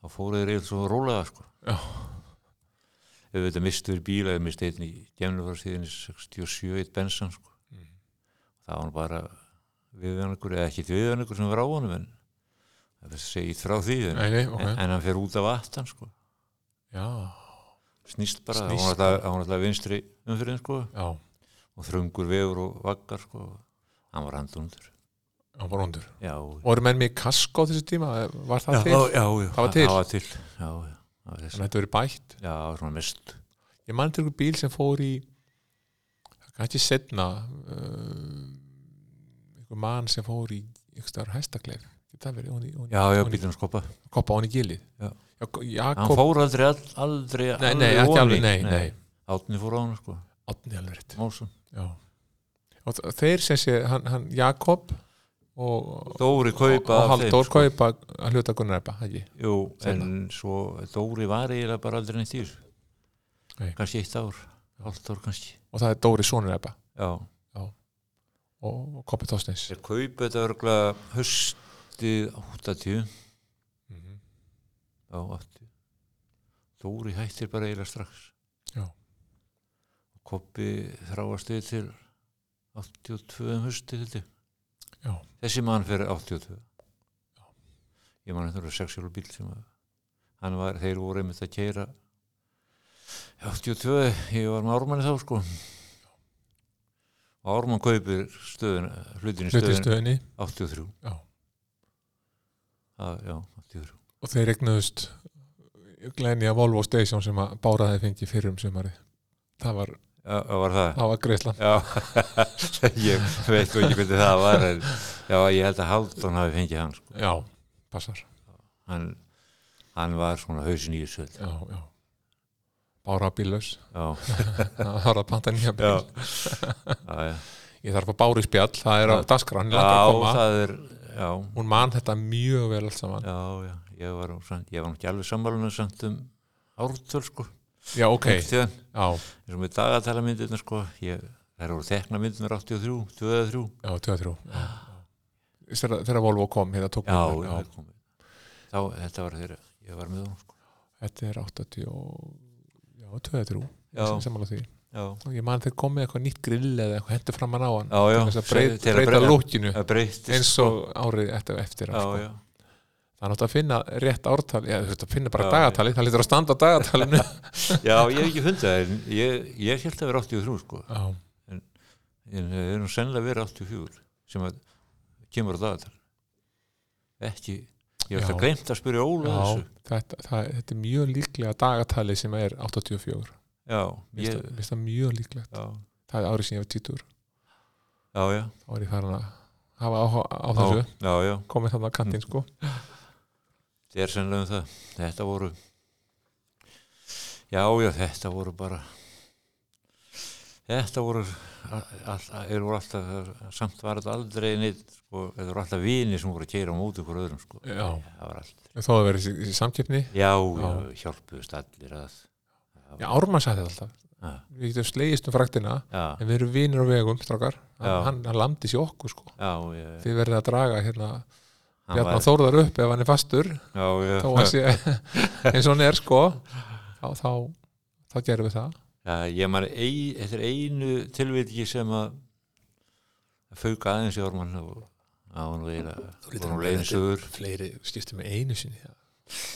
þá fóru þeir eiginlega svo rólega sko.
Já.
ef þetta mistur bíla ef mistu einn í gemlufarstíðinni 67 eitt bensan sko.
Mm.
það var nú bara viðvörningur eða ekki viðvörningur sem var á honum en það er segið frá því en,
neini, ok,
en, en hann fer út af aftan sko.
já
snýst bara, það
Snýst
var náttúrulega- það var náttúrulega vinstri umfyrir sko.
Já,
og þröngur vegur og vaggar sko. hann var handundur
hann var undur.
já,
Voru menn mig í kasko á þessu tíma? Var það
já,
til?
já, já,
Það var til?
það var til. Já, já, það var
Þannig að
þessi.
þetta verið bætt.
já, svona mist
Ég man til einhver bíl sem fór í kannski setna uh, einhver mann sem fór í einhver starf hæstakleif. Það verið hún í, hún í
já, já,
hún í
bílum skoppa
koppa hún í gilið.
Já.
Jak-
hann
Jakob,
fór aldrei, all- aldrei
nei, nei,
alveg
ekki
ofan
alveg,
í.
nei, nei.
Árni fór á hann sko.
Átni alveg rétt.
Másson.
Já. Og þ- þeir sem sé, hann, hann Jakob og,
Dóri kaupa
og
af þeim,
Halldór
sko.
kaupa að hluta Gunnar Ebba, ekki?
Jú,
Seinna.
en svo Dóri var eiginlega bara aldrei neitt í þessu
Nei.
kannski eitt ár, hálft ár kannski
Og það er Dóri Sónur Ebba
já,
og, og Koppi Tósteins.
þeir kaupa þetta örgulega höstið 80
Mm -hmm.
á 80 Dóri hættir bara eiginlega strax
Já.
Koppi þráast við til 82 um husti held ég
Já.
þessi mann fyrir 82 ég man þetta var sexuál bíl sem að, hann var, þeir voru einmitt að keira 82 ég var með Ármanni þá sko og Ármann kaupir stöðun, hlutin í stöðun
hlutistöðinni
83
Já.
að, já, 83
og þeir regnaðust glæni að Volvo Station sem að báraði fengi fyrir um sumari það var,
já, já, var það
það var greiðslan
Já, ég veit nú ekki hvernig það var en já, ég held að Halldón hafi fengið hann sko.
já, passar
hann, hann var svona hausin í þessu held ég.
já, já. bára bílaus
já,
það var að panta nýja bíl
já, já, já.
ég þarf að bára í spjall, það er á
Já.
dasgrann
já það er já,
hún man þetta mjög vel allt saman
já, já, ég var, nú samt- ég var nú ekki alveg sammálinu samt um ártöl sko
já, ok,
Einhvern tíðan,
já,
eins og með dagatala myndirna sko ég, þær voru tekna myndirna 83, 23
já, 23 já. Þegar, þegar Volvo kom hérna tók
já,
myndin,
já. Kom, þá, þetta var þeirra, ég var með hún sko.
þetta er 80 og já, 23
já,
sem samanlega því
já,
og ég man þeir komið eitthvað nýtt grill eða eitthvað hendur fram að ná hann
já, já
til þess að breyta,
til að
breyta
breyta-
lúkinu
það sko. breytist
eins og árið eftir, eftir hann,
já,
sko.
já,
það er náttúrulega að finna rétt ártal já, þú veist að finna bara
Já,
dagatali, það lítur að standa á dagatalinu
já, ég hef ekki fundið það en ég, ég held að vera 83 sko
já,
en það er nú sennilega verið 84 sem að kemur á dagatal ekki ég hef
Já.
alltaf gleymt að spyrja Óla
já
þessu
þetta, það, þetta er mjög líklega dagatali sem er 84 mér
já, ég,
finnst það- mér finnst það mjög líklegt
já,
það er árið sem ég var títur
já, já,
þá er ég farin að hafa áhuga á
já, Mm.
þessu
já, já
komið þarna að kantinn sko
það er sennilega um það þetta voru já, já, þetta voru bara þetta voru alltaf, þeir voru alltaf samt var þetta aldrei neitt sko, þetta voru alltaf vini sem voru að keira á móti ykkur öðrum sko,
já,
það var allt
þó að vera þessi samkeppni
já, já,
Já.
hjálpuðust allir að
já, Ármann sagði þetta alltaf
já,
við getum slegist um fraktina
já,
en við erum vinir á vegum, strákar
Já.
hann, hann, hann landi sér okkur sko
já, já,
þið verðið að draga hérna
hann
Bjarnar
var-
Þórðar upp ef hann er fastur
já, já,
þá hann sé eins og hann er sko þá, þá, þá gerum við það
já, ég maður ein, þetta er einu tilviki sem að fauka aðeins í orman og á hann veila og hann leiðin sögur
fleiri skiptum með einu sinni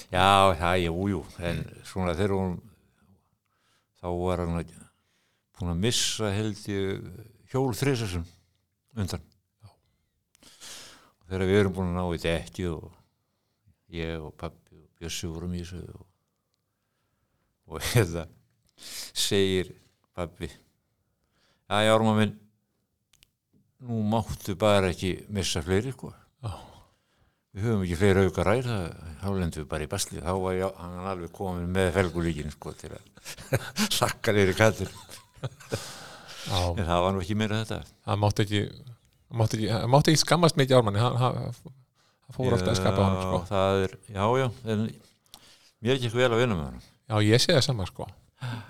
já, það, jú, jú, en svona þegar hún þá var hann að- búin að missa held ég hjól þrisasum undan og þegar við erum búin að ná í dekki og ég og pappi og Bjössi vorum í þessu og, og hérna segir pappi já, já, orma minn nú máttu bara ekki missa fleiri, sko
Já.
við höfum ekki fleiri auka ræða þá lendum við bara í basli þá var ég, hann alveg komin með felgulíkin sko, til að sakka neyri kattir
já,
en það var nú ekki meira þetta
það mátti ekki það mátti ekki, það mátti ekki skammast mikið Ármanni hann, hann, hann fór alltaf að skapa hann sko
Já, það er, já, já, en mér er ekki vel að vinna með hann
já, ég sé það sama sko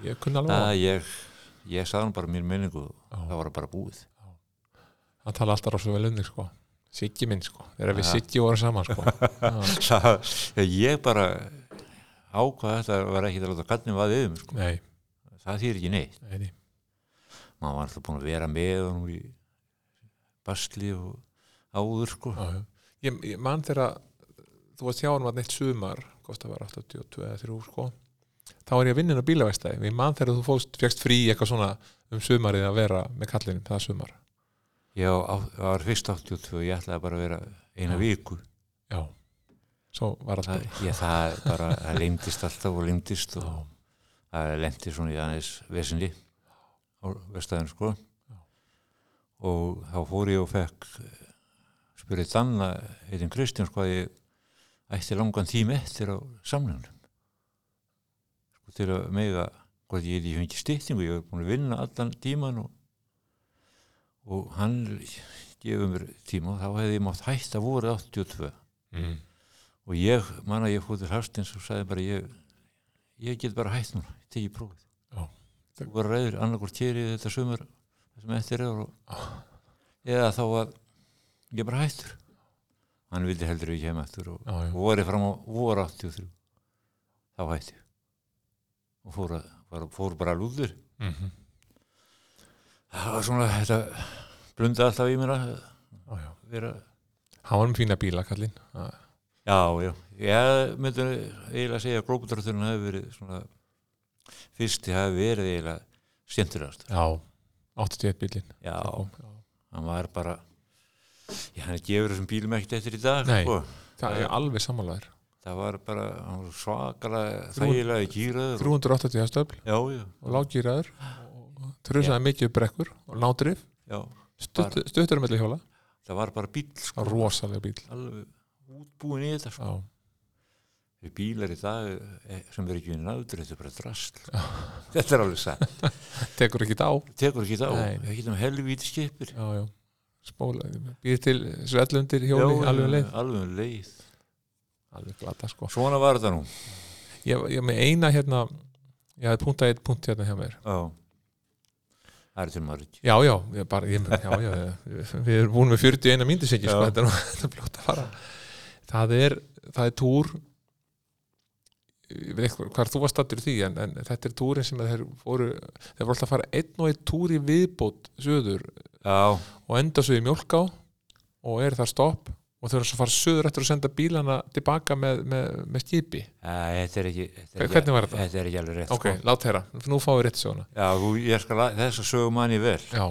ég kunni alveg á
það ég, ég sagði hann bara mín minningu
Já.
það var bara búið
hann tala alltaf rosa vel um þig sko Siggi minn sko, þegar við
Aha.
Siggi vorum saman sko Já,
það, ég bara ákvað þetta var ekki að láta kallin vaðið yfir mig, sko.
nei,
það þýr ekki neitt
nei, nei.
maður var alltaf búin að vera með hann í basli og áður sko.
Já, já. Ég, ég man þegar að þú varst hjá hann var neitt sumar hvort það var 82 eða 3 sko þá var ég að vinna inn á bílavægstæði ég man þegar þú fóst, fegst frí í eitthvað svona um sumarið að vera með kallinum það sumar
Já, á- það var fyrst 82, ég ætlaði bara að vera eina
Já.
viku.
já, svo var allt
Það, ég, það bara, það lengdist alltaf og lengdist og
Já.
það lengdi svona í aðeins vesinni á vestæðin, sko.
Já.
Og þá fór ég og fekk, spurði Danna, heitin Kristján, sko, að ég ætti langan tíma eftir á samlunum. Sko, til að mega, hvort ég hefði fengið styttingu, ég hef búin að vinna allan tíman og, og hann gefið mér tíma og þá hefði ég mátt hætta voruð 82
mm.
og ég, manna ég fóð til Hafstins og sagði bara ég, ég get bara hætt núna, ég tekið prófið
Já.
þú var ræður annarkvort kerið þetta sumar það sem eftir er og, eða þá að ég bara hættur hann vildi heldur ekki heim eftir og
já, já.
vorið fram á voru 83 þá hætti ég. og
Mhm.
fór, að, bara, fór bara lúður
Mm -hmm.
það var svona þetta blunda alltaf í mér að
Já, já.
vera
Hann var um fína bíla, kallinn. Það-
Já, já, ég myndi eiginlega segja að grókudröfturinn hafi verið svona fyrsti hafi verið eiginlega skemmtilegast.
Já, 81 bílinn.
Já,
Það kom, já.
hann var bara, já, hann gefur þessum bílum ekkert eftir í dag,
Nei.
sko.
Það er alveg sammálaður.
Það var bara, hann var svakalega
Þrjú-
þægilega gýraður.
380 hestöfl
Já, já,
og lágýraður og trusaði mikið upp brekkur og nádrif,
já,
stutt, stuttur melli hjóla,
það var bara bíl, sko,
rosalega bíl.
alveg útbúin í þetta, sko.
Já,
Þeir bílar í dag eh, sem verður ekki unni náður, þetta er bara drast. þetta er alveg satt.
tekur ekki á.
Tekur ekki þá,
Nei.
við getum helvíti skipir.
Já, já, spóla, býr til svellundir hjóli,
Já,
alveg leið.
Alveg um leið.
Alveg glata, sko.
Svona var þetta nú.
Ég, ég með eina hérna, ég hafði punkt að eitt punkt hérna hjá mér.
Já. Það er til marg.
Já, já, ég bara, ég, já, já, ég, við erum búin með 41 mínútur sikið, sko,
Já.
þetta er, nú- þetta er blótt að fara. Það er, það er túr, ég veit ekki hvað þú varst stattur í því, en, en þetta er túrin sem þeir voru, þeir voru alltaf að fara einn og einn túr í viðbót söður
Já,
og enda svo í mjólká og er það stopp og þau eru svo að fara söður eftir að senda bílana tilbaka með, með, með skipi.
Æ, þetta er ekki... Þetta er
Hver-
ekki-
hvernig var þetta?
Þetta er ekki alveg rétt.
Ok,
Sko.
lát þeirra, nú fáum við rétt sjóna.
Já, þú- ég skal að þess að sögum manni vel.
Já,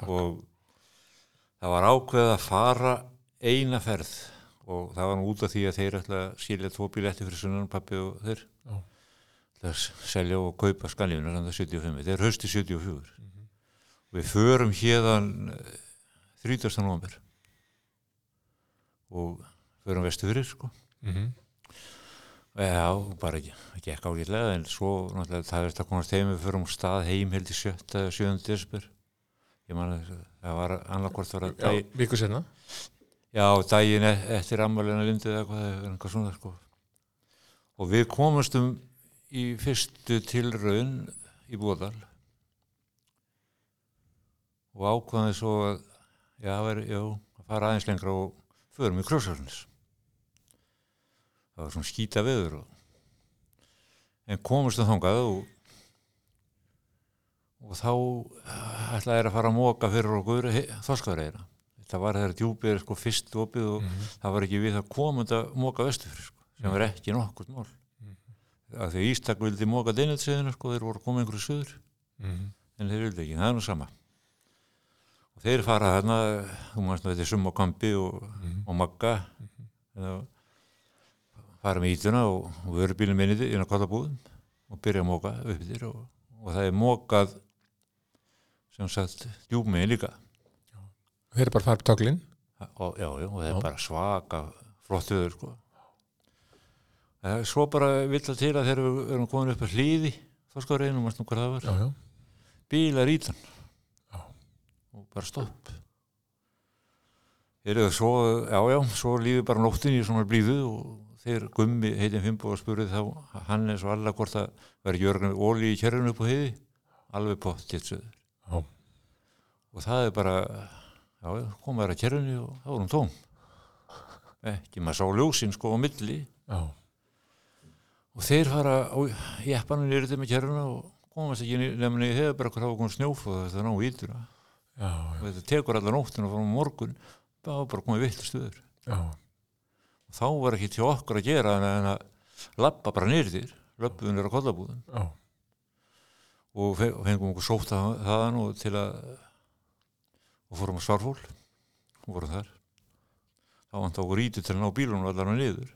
takk.
Og það var ákveðið að fara eina ferð og það var nú út af því að þeir ætla að skilja tvo bíletti fyrir sunnan pappi og þeir
Já.
ætla að selja og kaupa skanlífuna samt að 75. Þetta er hösti 74.
Mhm.
Við förum eh, hérðan 30. november og förum vestu fyrir sko.
Mm
Já, bara ekki, ekki ekki ágætlega en svo náttúrulega það er þetta komast heim við förum á stað heim held í 7. 7. desibur ég man að það var annarkvort var að
Já,
dag,
viku senna.
já, daginn e- eftir ammælina lindið eða eitthvað, eða eitthvað svona sko. og við komumstum í fyrstu tilraun í Búðal og ákvaðið svo að já, það væri- já, að fara aðeins lengra og förum í krossarnis það var svona skýta veður og, en komumst að þangað og, og þá eh, ætlaði þeir að fara að móka fyrir okkur þorskaðreina þetta var þeirra djúpið sko, fyrst opið
Mhm.
og það var ekki við að komund að móka vestur fyrir sko, sem var ekki nokkurt mál
Mhm.
af því að Ístak vildi móka deinutsiðinu sko, þeir voru að koma einhverju söður
Mhm.
en þeir vildi ekki, það er nú sama og þeir fara þarna þú mannst nú þetta er summa kampi og,
Mhm.
og magga mm fara með ítuna og, og vörubílum minni inn á kollabúðum og byrja að móka upp þér og, og það er mókað sem sagt djúpmiðin líka
Þeir eru bara að fara upp töglinn.
og, já, já, og það er
Já.
bara svaka flott viður sko. Eh, svo bara vill það til að þegar við erum komin upp að hlýði þá sko reynum mannst nú hvað það var
Já, já.
bílar í þann
Já.
og bara stopp Heyrðu, svo, já, já, svo lífið bara nóttin í svona blíðu og þeir gummi heitin Fimbo og spurði þá Hannes og alla hvort að vera jörgum ólí í kjörðinu upp á heiði alveg pott til söður
Já.
og það er bara já, já, koma þær að kjörðinu og þá er hún tóm ekki, maður sá ljósin sko á milli
Já.
og þeir fara á jeppanum nýrið með kjörðinu og komast ekki nefnir í hefur bara hvað hafa komið snjóflóð það er ná ítur
Já,
og þetta tekur allar nóttina og fórum á morgun það var bara komið vitt stuður
já.
og þá var ekki til okkur að gera en að, en að lappa bara nýrðir löpum nýra kollabúðum
Já,
og fe- og fengum okkur sótt að þaðan og til að og fórum að svarfól og vorum þar þá vant okkur ítu til að ná bílunum allar hann niður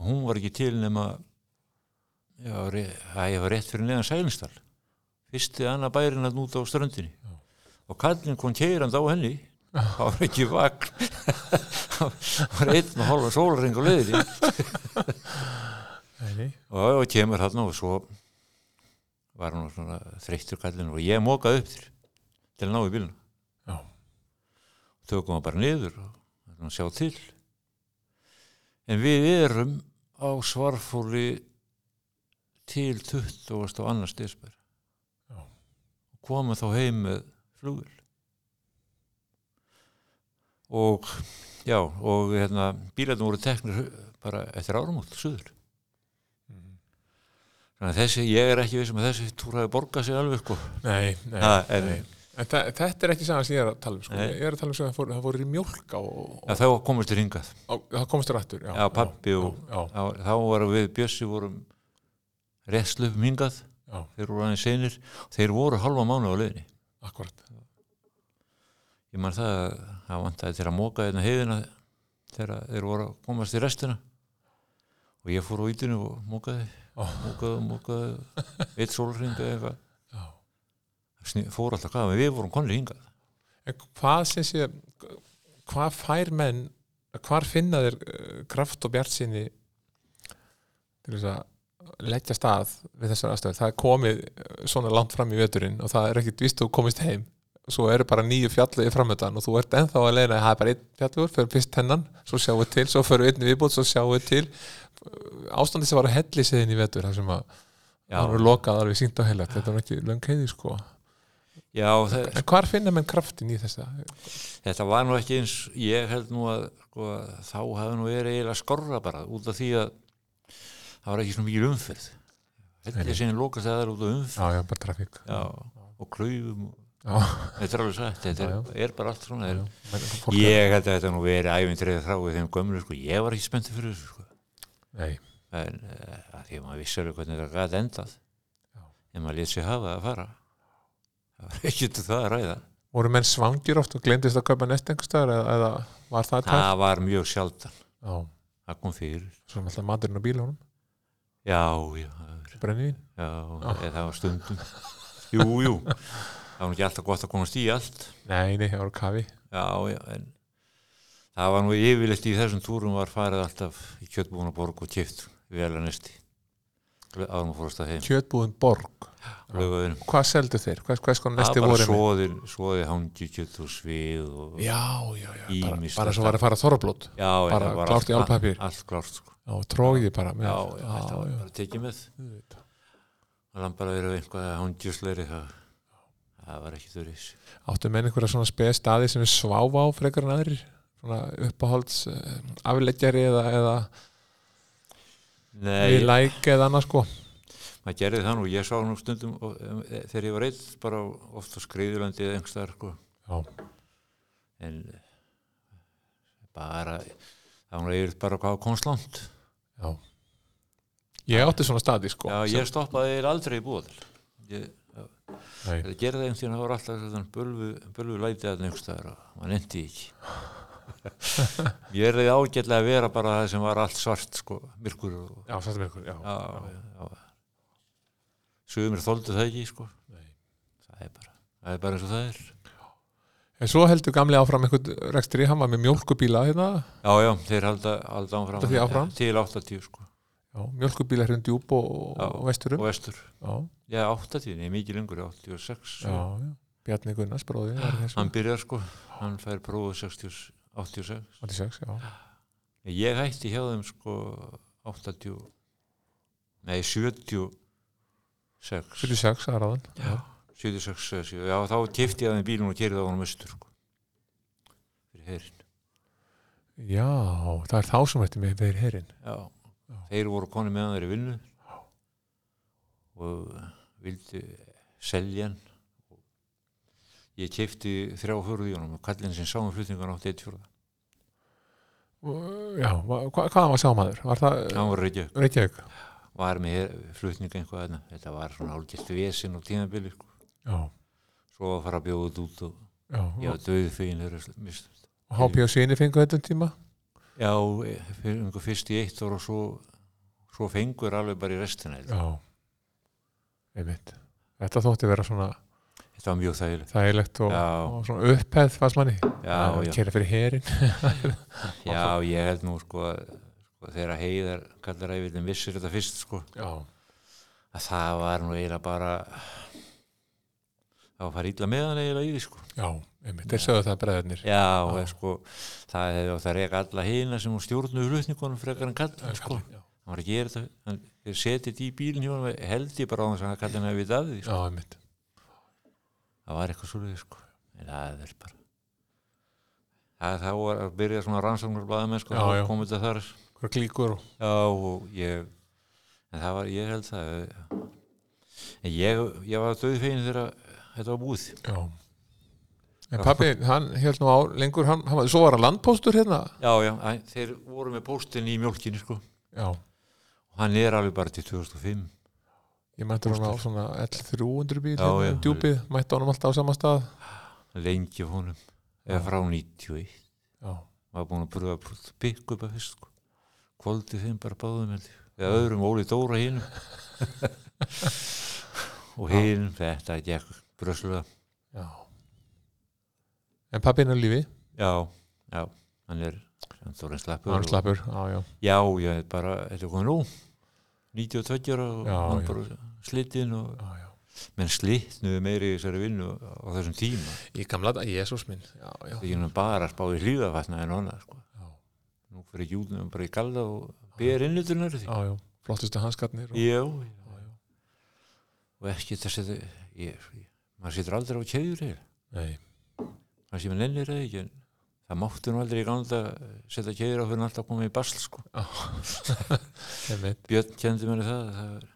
og hún var ekki til nema já, re, að ég var rétt fyrir neðan sælinstal fyrsti annað bærin að núta á ströndinni
Já.
og kallinn kom keirand á henni það var ekki vagn það var einn og hálfa sólaring á leiðinni
nei, nei.
og, og kemur hann og svo var hann svona þreyttur kallinn og ég mókaði upp þér til að ná í bílun
Já.
tökum hann bara niður og ætlum að sjá til en við erum á svarfóli til 20. og annars desber
Já.
komum þá heim með flugil og já, og hérna bílarnir voru teknir bara eftir áramótt, suður um Þannig að þessi, ég er ekki vissum að þessi túr hafi borgað sig alveg sko.
Nei, nei,
Ha, en,
nei. En þa- þetta er ekki sagan sem ég er að tala um sko.
Nei.
Ég er að tala um sem það fór, það fór í mjólk og, og,
Já, þá komist þér hingað
og það komist þér aftur Já,
Já, pabbi og-
Já,
þá, þá varum við Bjössi vorum réttlöfum hingað
já,
þeir voru aðeins seinir þeir voru halva mánu á leiðinni
akkurat
ég man það að það vantaði þeir að móka hérna heiðina þegar þeir voru að komast í restina og ég fór á ítinu og mókaði
Ó.
mókaði, mókaði eitt sólringa eða
Já.
eitthvað Sný- fór alltaf hvað, við vorum konir hingað
En hvað sem sé hvað fær menn hvar finna þér eh, kraft og bjart sinni til þess að leggja stað við þessar aðstöður, það er komið eh, svona langt fram í veturinn og það er ekkit víst þú komist heim svo eru bara nýju fjallegi framöndan og þú ert ennþá að leina að það er bara einn fjallegur fyrir fyrst hennan, svo sjáum við til svo fyrir við einn viðbútt, svo sjáum við til ástandi sem var að helli séðin í vetur þar sem að
já,
það voru lokað alveg sínt á heilagt, þetta var ekki löng heiði sko
já þe
en hvar finna menn kraftin í þessa
þetta var nú ekki eins ég held nú að sko, að þá hafði nú verið eiginlega skorra bara út af því að það var ekki svona mikil umferð þetta
Nei.
er sinni lokast að það er út af umferð
Já, já, bara trafík
já, og klaufum og,
Já.
þetta er alveg sætt, þetta er, er bara allt svona þetta er
Fólk er-
Ég held að þetta nú verið æfintrið frá við þeim gömlu, sko, ég var ekki spenntið fyrir þessu, sko,
Nei,
en uh, að því að maður vissi alveg hvernig þetta gæti endað
Já.
en maður lét sér hafa að fara það var ekki til það að ræða
voru menn svangir oft og glemdist að kaupa næst einhverstaðar eða, eða var það tæft?
það var mjög sjaldan,
Já,
það kom fyrir
svo er alltaf maturinn á bílunum,
já, já, það var-
brennivín
já, eða það var stundum jú, jú, það var nú ekki alltaf gott að komast í allt
Nei, nei, það voru kafi
já, já, en það var nú yfirleitt í þessum túrum var farið alltaf í kjötbúna borg og kjöft vel að næsti árum að fórast að heim
Kjötbúðin Borg,
lögðuðin
hvað seldu þeir? Hvað, hvað sko
Það
næsti
bara
voru með?
svoðir, svoði hangikjöld og svið og já,
Já, já, já, bara,
Ýmislegt.
bara svo var að fara þorrablót
já,
bara
það var
klárt í
allt-
álpappír.
Allt klárt, sko.
og tróði bara
Já,
með.
já, þetta var bara tekið með.
Auðvitað.
Það var bara verið einhvað hangjöfsleiri, það, það var ekki þurris.
Áttu menn einhverja svona spes staði sem er sváfa á frekar en aðrir? Svona uppáhalds eh, afleggjari eða, eða við
Nei,
læk eða annað sko
maður gerði það nú, ég sá nú stundum og, em, e, þegar ég var einn, bara á- oft á skriðulandi eða einhverstaðar, sko.
Já,
En eh, bara, það var nú yfirleitt bara hvað komst langt.
já Ég átti svona staði sko
Já, ég stoppaði eiginlega aldrei í búðal. Ég,
Nei.
Það gerði einhvern veginn, það var alltaf svona bölvu, bölvu lætið að nefnstæður og maður nefndi ekki. ég er þið ágætlega að vera bara það sem var allt svart, sko, myrkur og...
Já, svartum ykkur, já.
Já, já, já. Sumir þóldu það ekki, sko.
Nei.
Það er bara, það er bara eins og það er.
En svo heldur gamli áfram einhvern rekstri, hann var með mjólkubíla hérna,
Já, já, þeir halda, halda áfram.
Halda því áfram?
Til 80, sko,
já, mjólkubíla hérna djúb og,
Já.
og vesturum.
og vestur.
Já,
Já, 80, nei, mikið lengur, 86.
já, já. Bjarni Gunnars bróði, var hérna í þessu.
Hann byrjar, sko, hann fær prófið 60, 86.
86, já.
Ég hætti hjá þeim sko 80 nei 76
76, það er aðan. Já.
76 eða 7, já þá kifti ég að þeim bílun og kerði á honum austur sko fyrir herin
Já, það er þá sem þetta með verið herinn.
já. þeir voru koni meðan þeir í vinnu og vildi selja hann ég kifti þrjá hörðu í honum og kallinn sem sáum flutningan átti eitt fjórða
Og, Já, hva, hva- hvaðan var sámaður? Var það já.
hann var reykja,
Reykjavík?
var með her- flutninga eitthvað þarna. þetta var svona álgætt vesinn og tímabili sko.
Já,
svo að fara að bjóða þetta út og
já.
Já,
já.
döðu fegin er mist.
Og HP og Sýni fengu þetta um tíma?
Já, e- fyrir einhver fyrst í eitt ára og svo, svo fengur alveg bara í restina. held ég.
Já. Einmitt. Þetta þótti vera svona
Þetta var mjög þægilegt.
þægilegt og,
Já.
og svona upphæð, fannst manni.
Já, já,
Kæra fyrir herinn.
já, ég held nú sko að sko, þegar heiðar kallar að við vissir þetta fyrst sko
Já.
að það var nú eiginlega bara það var farið illa með hann eiginlega í því sko.
Já, einmitt, þeir sögðu það breðarnir
Já, já. sko það hefði átt að reyka alla heina sem hún stjórnuðu hlutningunum frekar en kallar sko.
Já,
Hann var að gera þetta, hann setið þetta í bílinn hjá hann held ég bara á þess að kallar hann að við að því sko.
já einmitt
það var eitthvað svolítið sko en það er bara það, það var að byrja svona rannsóknarblæðum sko,
Já,
þá
já.
kom þetta þar
Hver klíkur og
já og ég en það eh, var, ég held það en ég, ég var döðfegin þegar þetta var búið
já. En pappi, hann held nú á lengur, hann, hann, svo var hann landpóstur hérna.
já, já, æ, þeir voru með póstin í mjólkinni sko
Já,
og hann er alveg bara til 2005
ég mætti hann á svona L300 bíl,
Já,
hérna,
já.
um djúpið, mætti honum alltaf á sama stað.
lengi af honum eða frá 91
Já,
var búin að pröfa að pikka upp að fyrst sko. kvöldið þeim bara báðum held ég eða öðrum Óli Dóra hinn og hinn þetta er ekki bröslega
já. En pappi er á lífi,
já, já, hann er hann þóra en slappur
hann
og-
slappur, já, já.
já, já, þetta er bara, þetta er komin nú 92 ára og
Já,
hann
já.
bara slittin og
já, já.
menn slitnuðu meiri í þessari vinnu á þessum tíma
Í gamla dag, Jésús minn, já, já.
það er ekki nú bara að spá í hlýðafatna en annað sko.
Já,
nú fyrir júðnum bara í galda og ber innutunar því
já, já. flottustu hanskarnir. Og...
já, já
Já, já.
og ekki þess að ég, ég, maður situr aldrei á keður hér
Nei,
maður sem nennir það ekki en það máttu nú aldrei í ganda setja keður á fyrir alltaf að koma í basl sko.
einmitt.
Björn kendi mér það það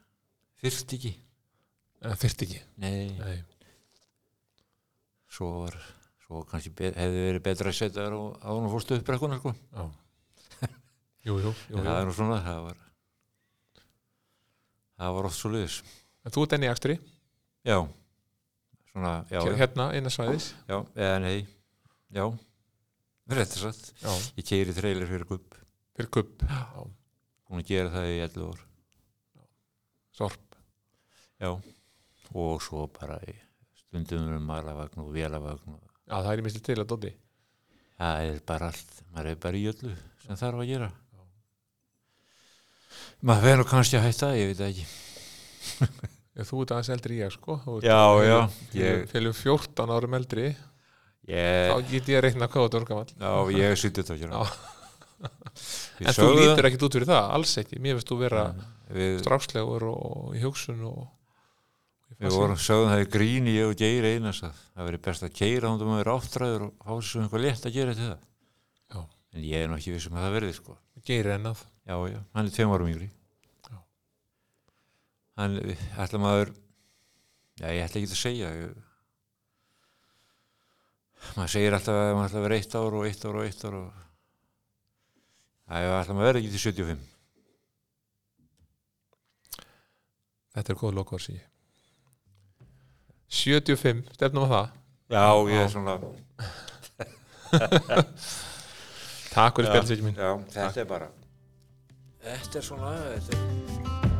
þyrst ekki
En þyrfti ekki.
nei,
Nei,
svo var svo kannski be, hefði verið betra að setja þar á án og fórstu upp brekkuna sko.
já. Jú, jú, jú,
en
jú.
það er nú svona það var það var oft svo liðis
En þú ert enn í akstri,
já, svona, já, já,
hérna, innan svæðis.
já eða nei, já rétt er satt,
Já,
ég keiri trailer fyrir gupp
fyrir kupp. Já,
hún að gera það í 11 ár
sorp.
já. og svo bara í stundum um malavagn og vélavagn og
Já, það er í misli til að dóti.
það er bara allt, maður er bara í öllu sem þarf að gera maður verður nú kannski að hætta ég veit það ekki
Þú ert aðeins eldri í ég, sko. Þú ert-
já, já,
Ég
ég, Eh.
fylgjum 14 árum eldri þá
ég
get ég að reikna hvað þú orðgamall
já, ég er sýttið þá
Já.
hérna
en þú lítur ekkit út fyrir það, alls ekki mér finnst þú vera
við,
strákslegur og í hugsun og
við vorum sögðum það í gríni ég og Geir Einars að það verið best að keira þá maður er áttræður og fá þessu einhver létt að gera til það
Já.
en ég er nú ekki vissum að það verði sko
geiri ennað
Já, já, hann er tveim árum yngri
Já.
Hann, ætla maður Já, ég ætla ekki að segja ég, maður segir alltaf að maður ætla að vera eitt ár og eitt ár og eitt ár og Já, ég ætla maður verið ekki til 75
þetta er góð lokvar sí 75, stefnum að það
Já, ég er svona
takk fyrir spjálsvíkjum mín
já, Þetta er bara Þetta er svona þetta er...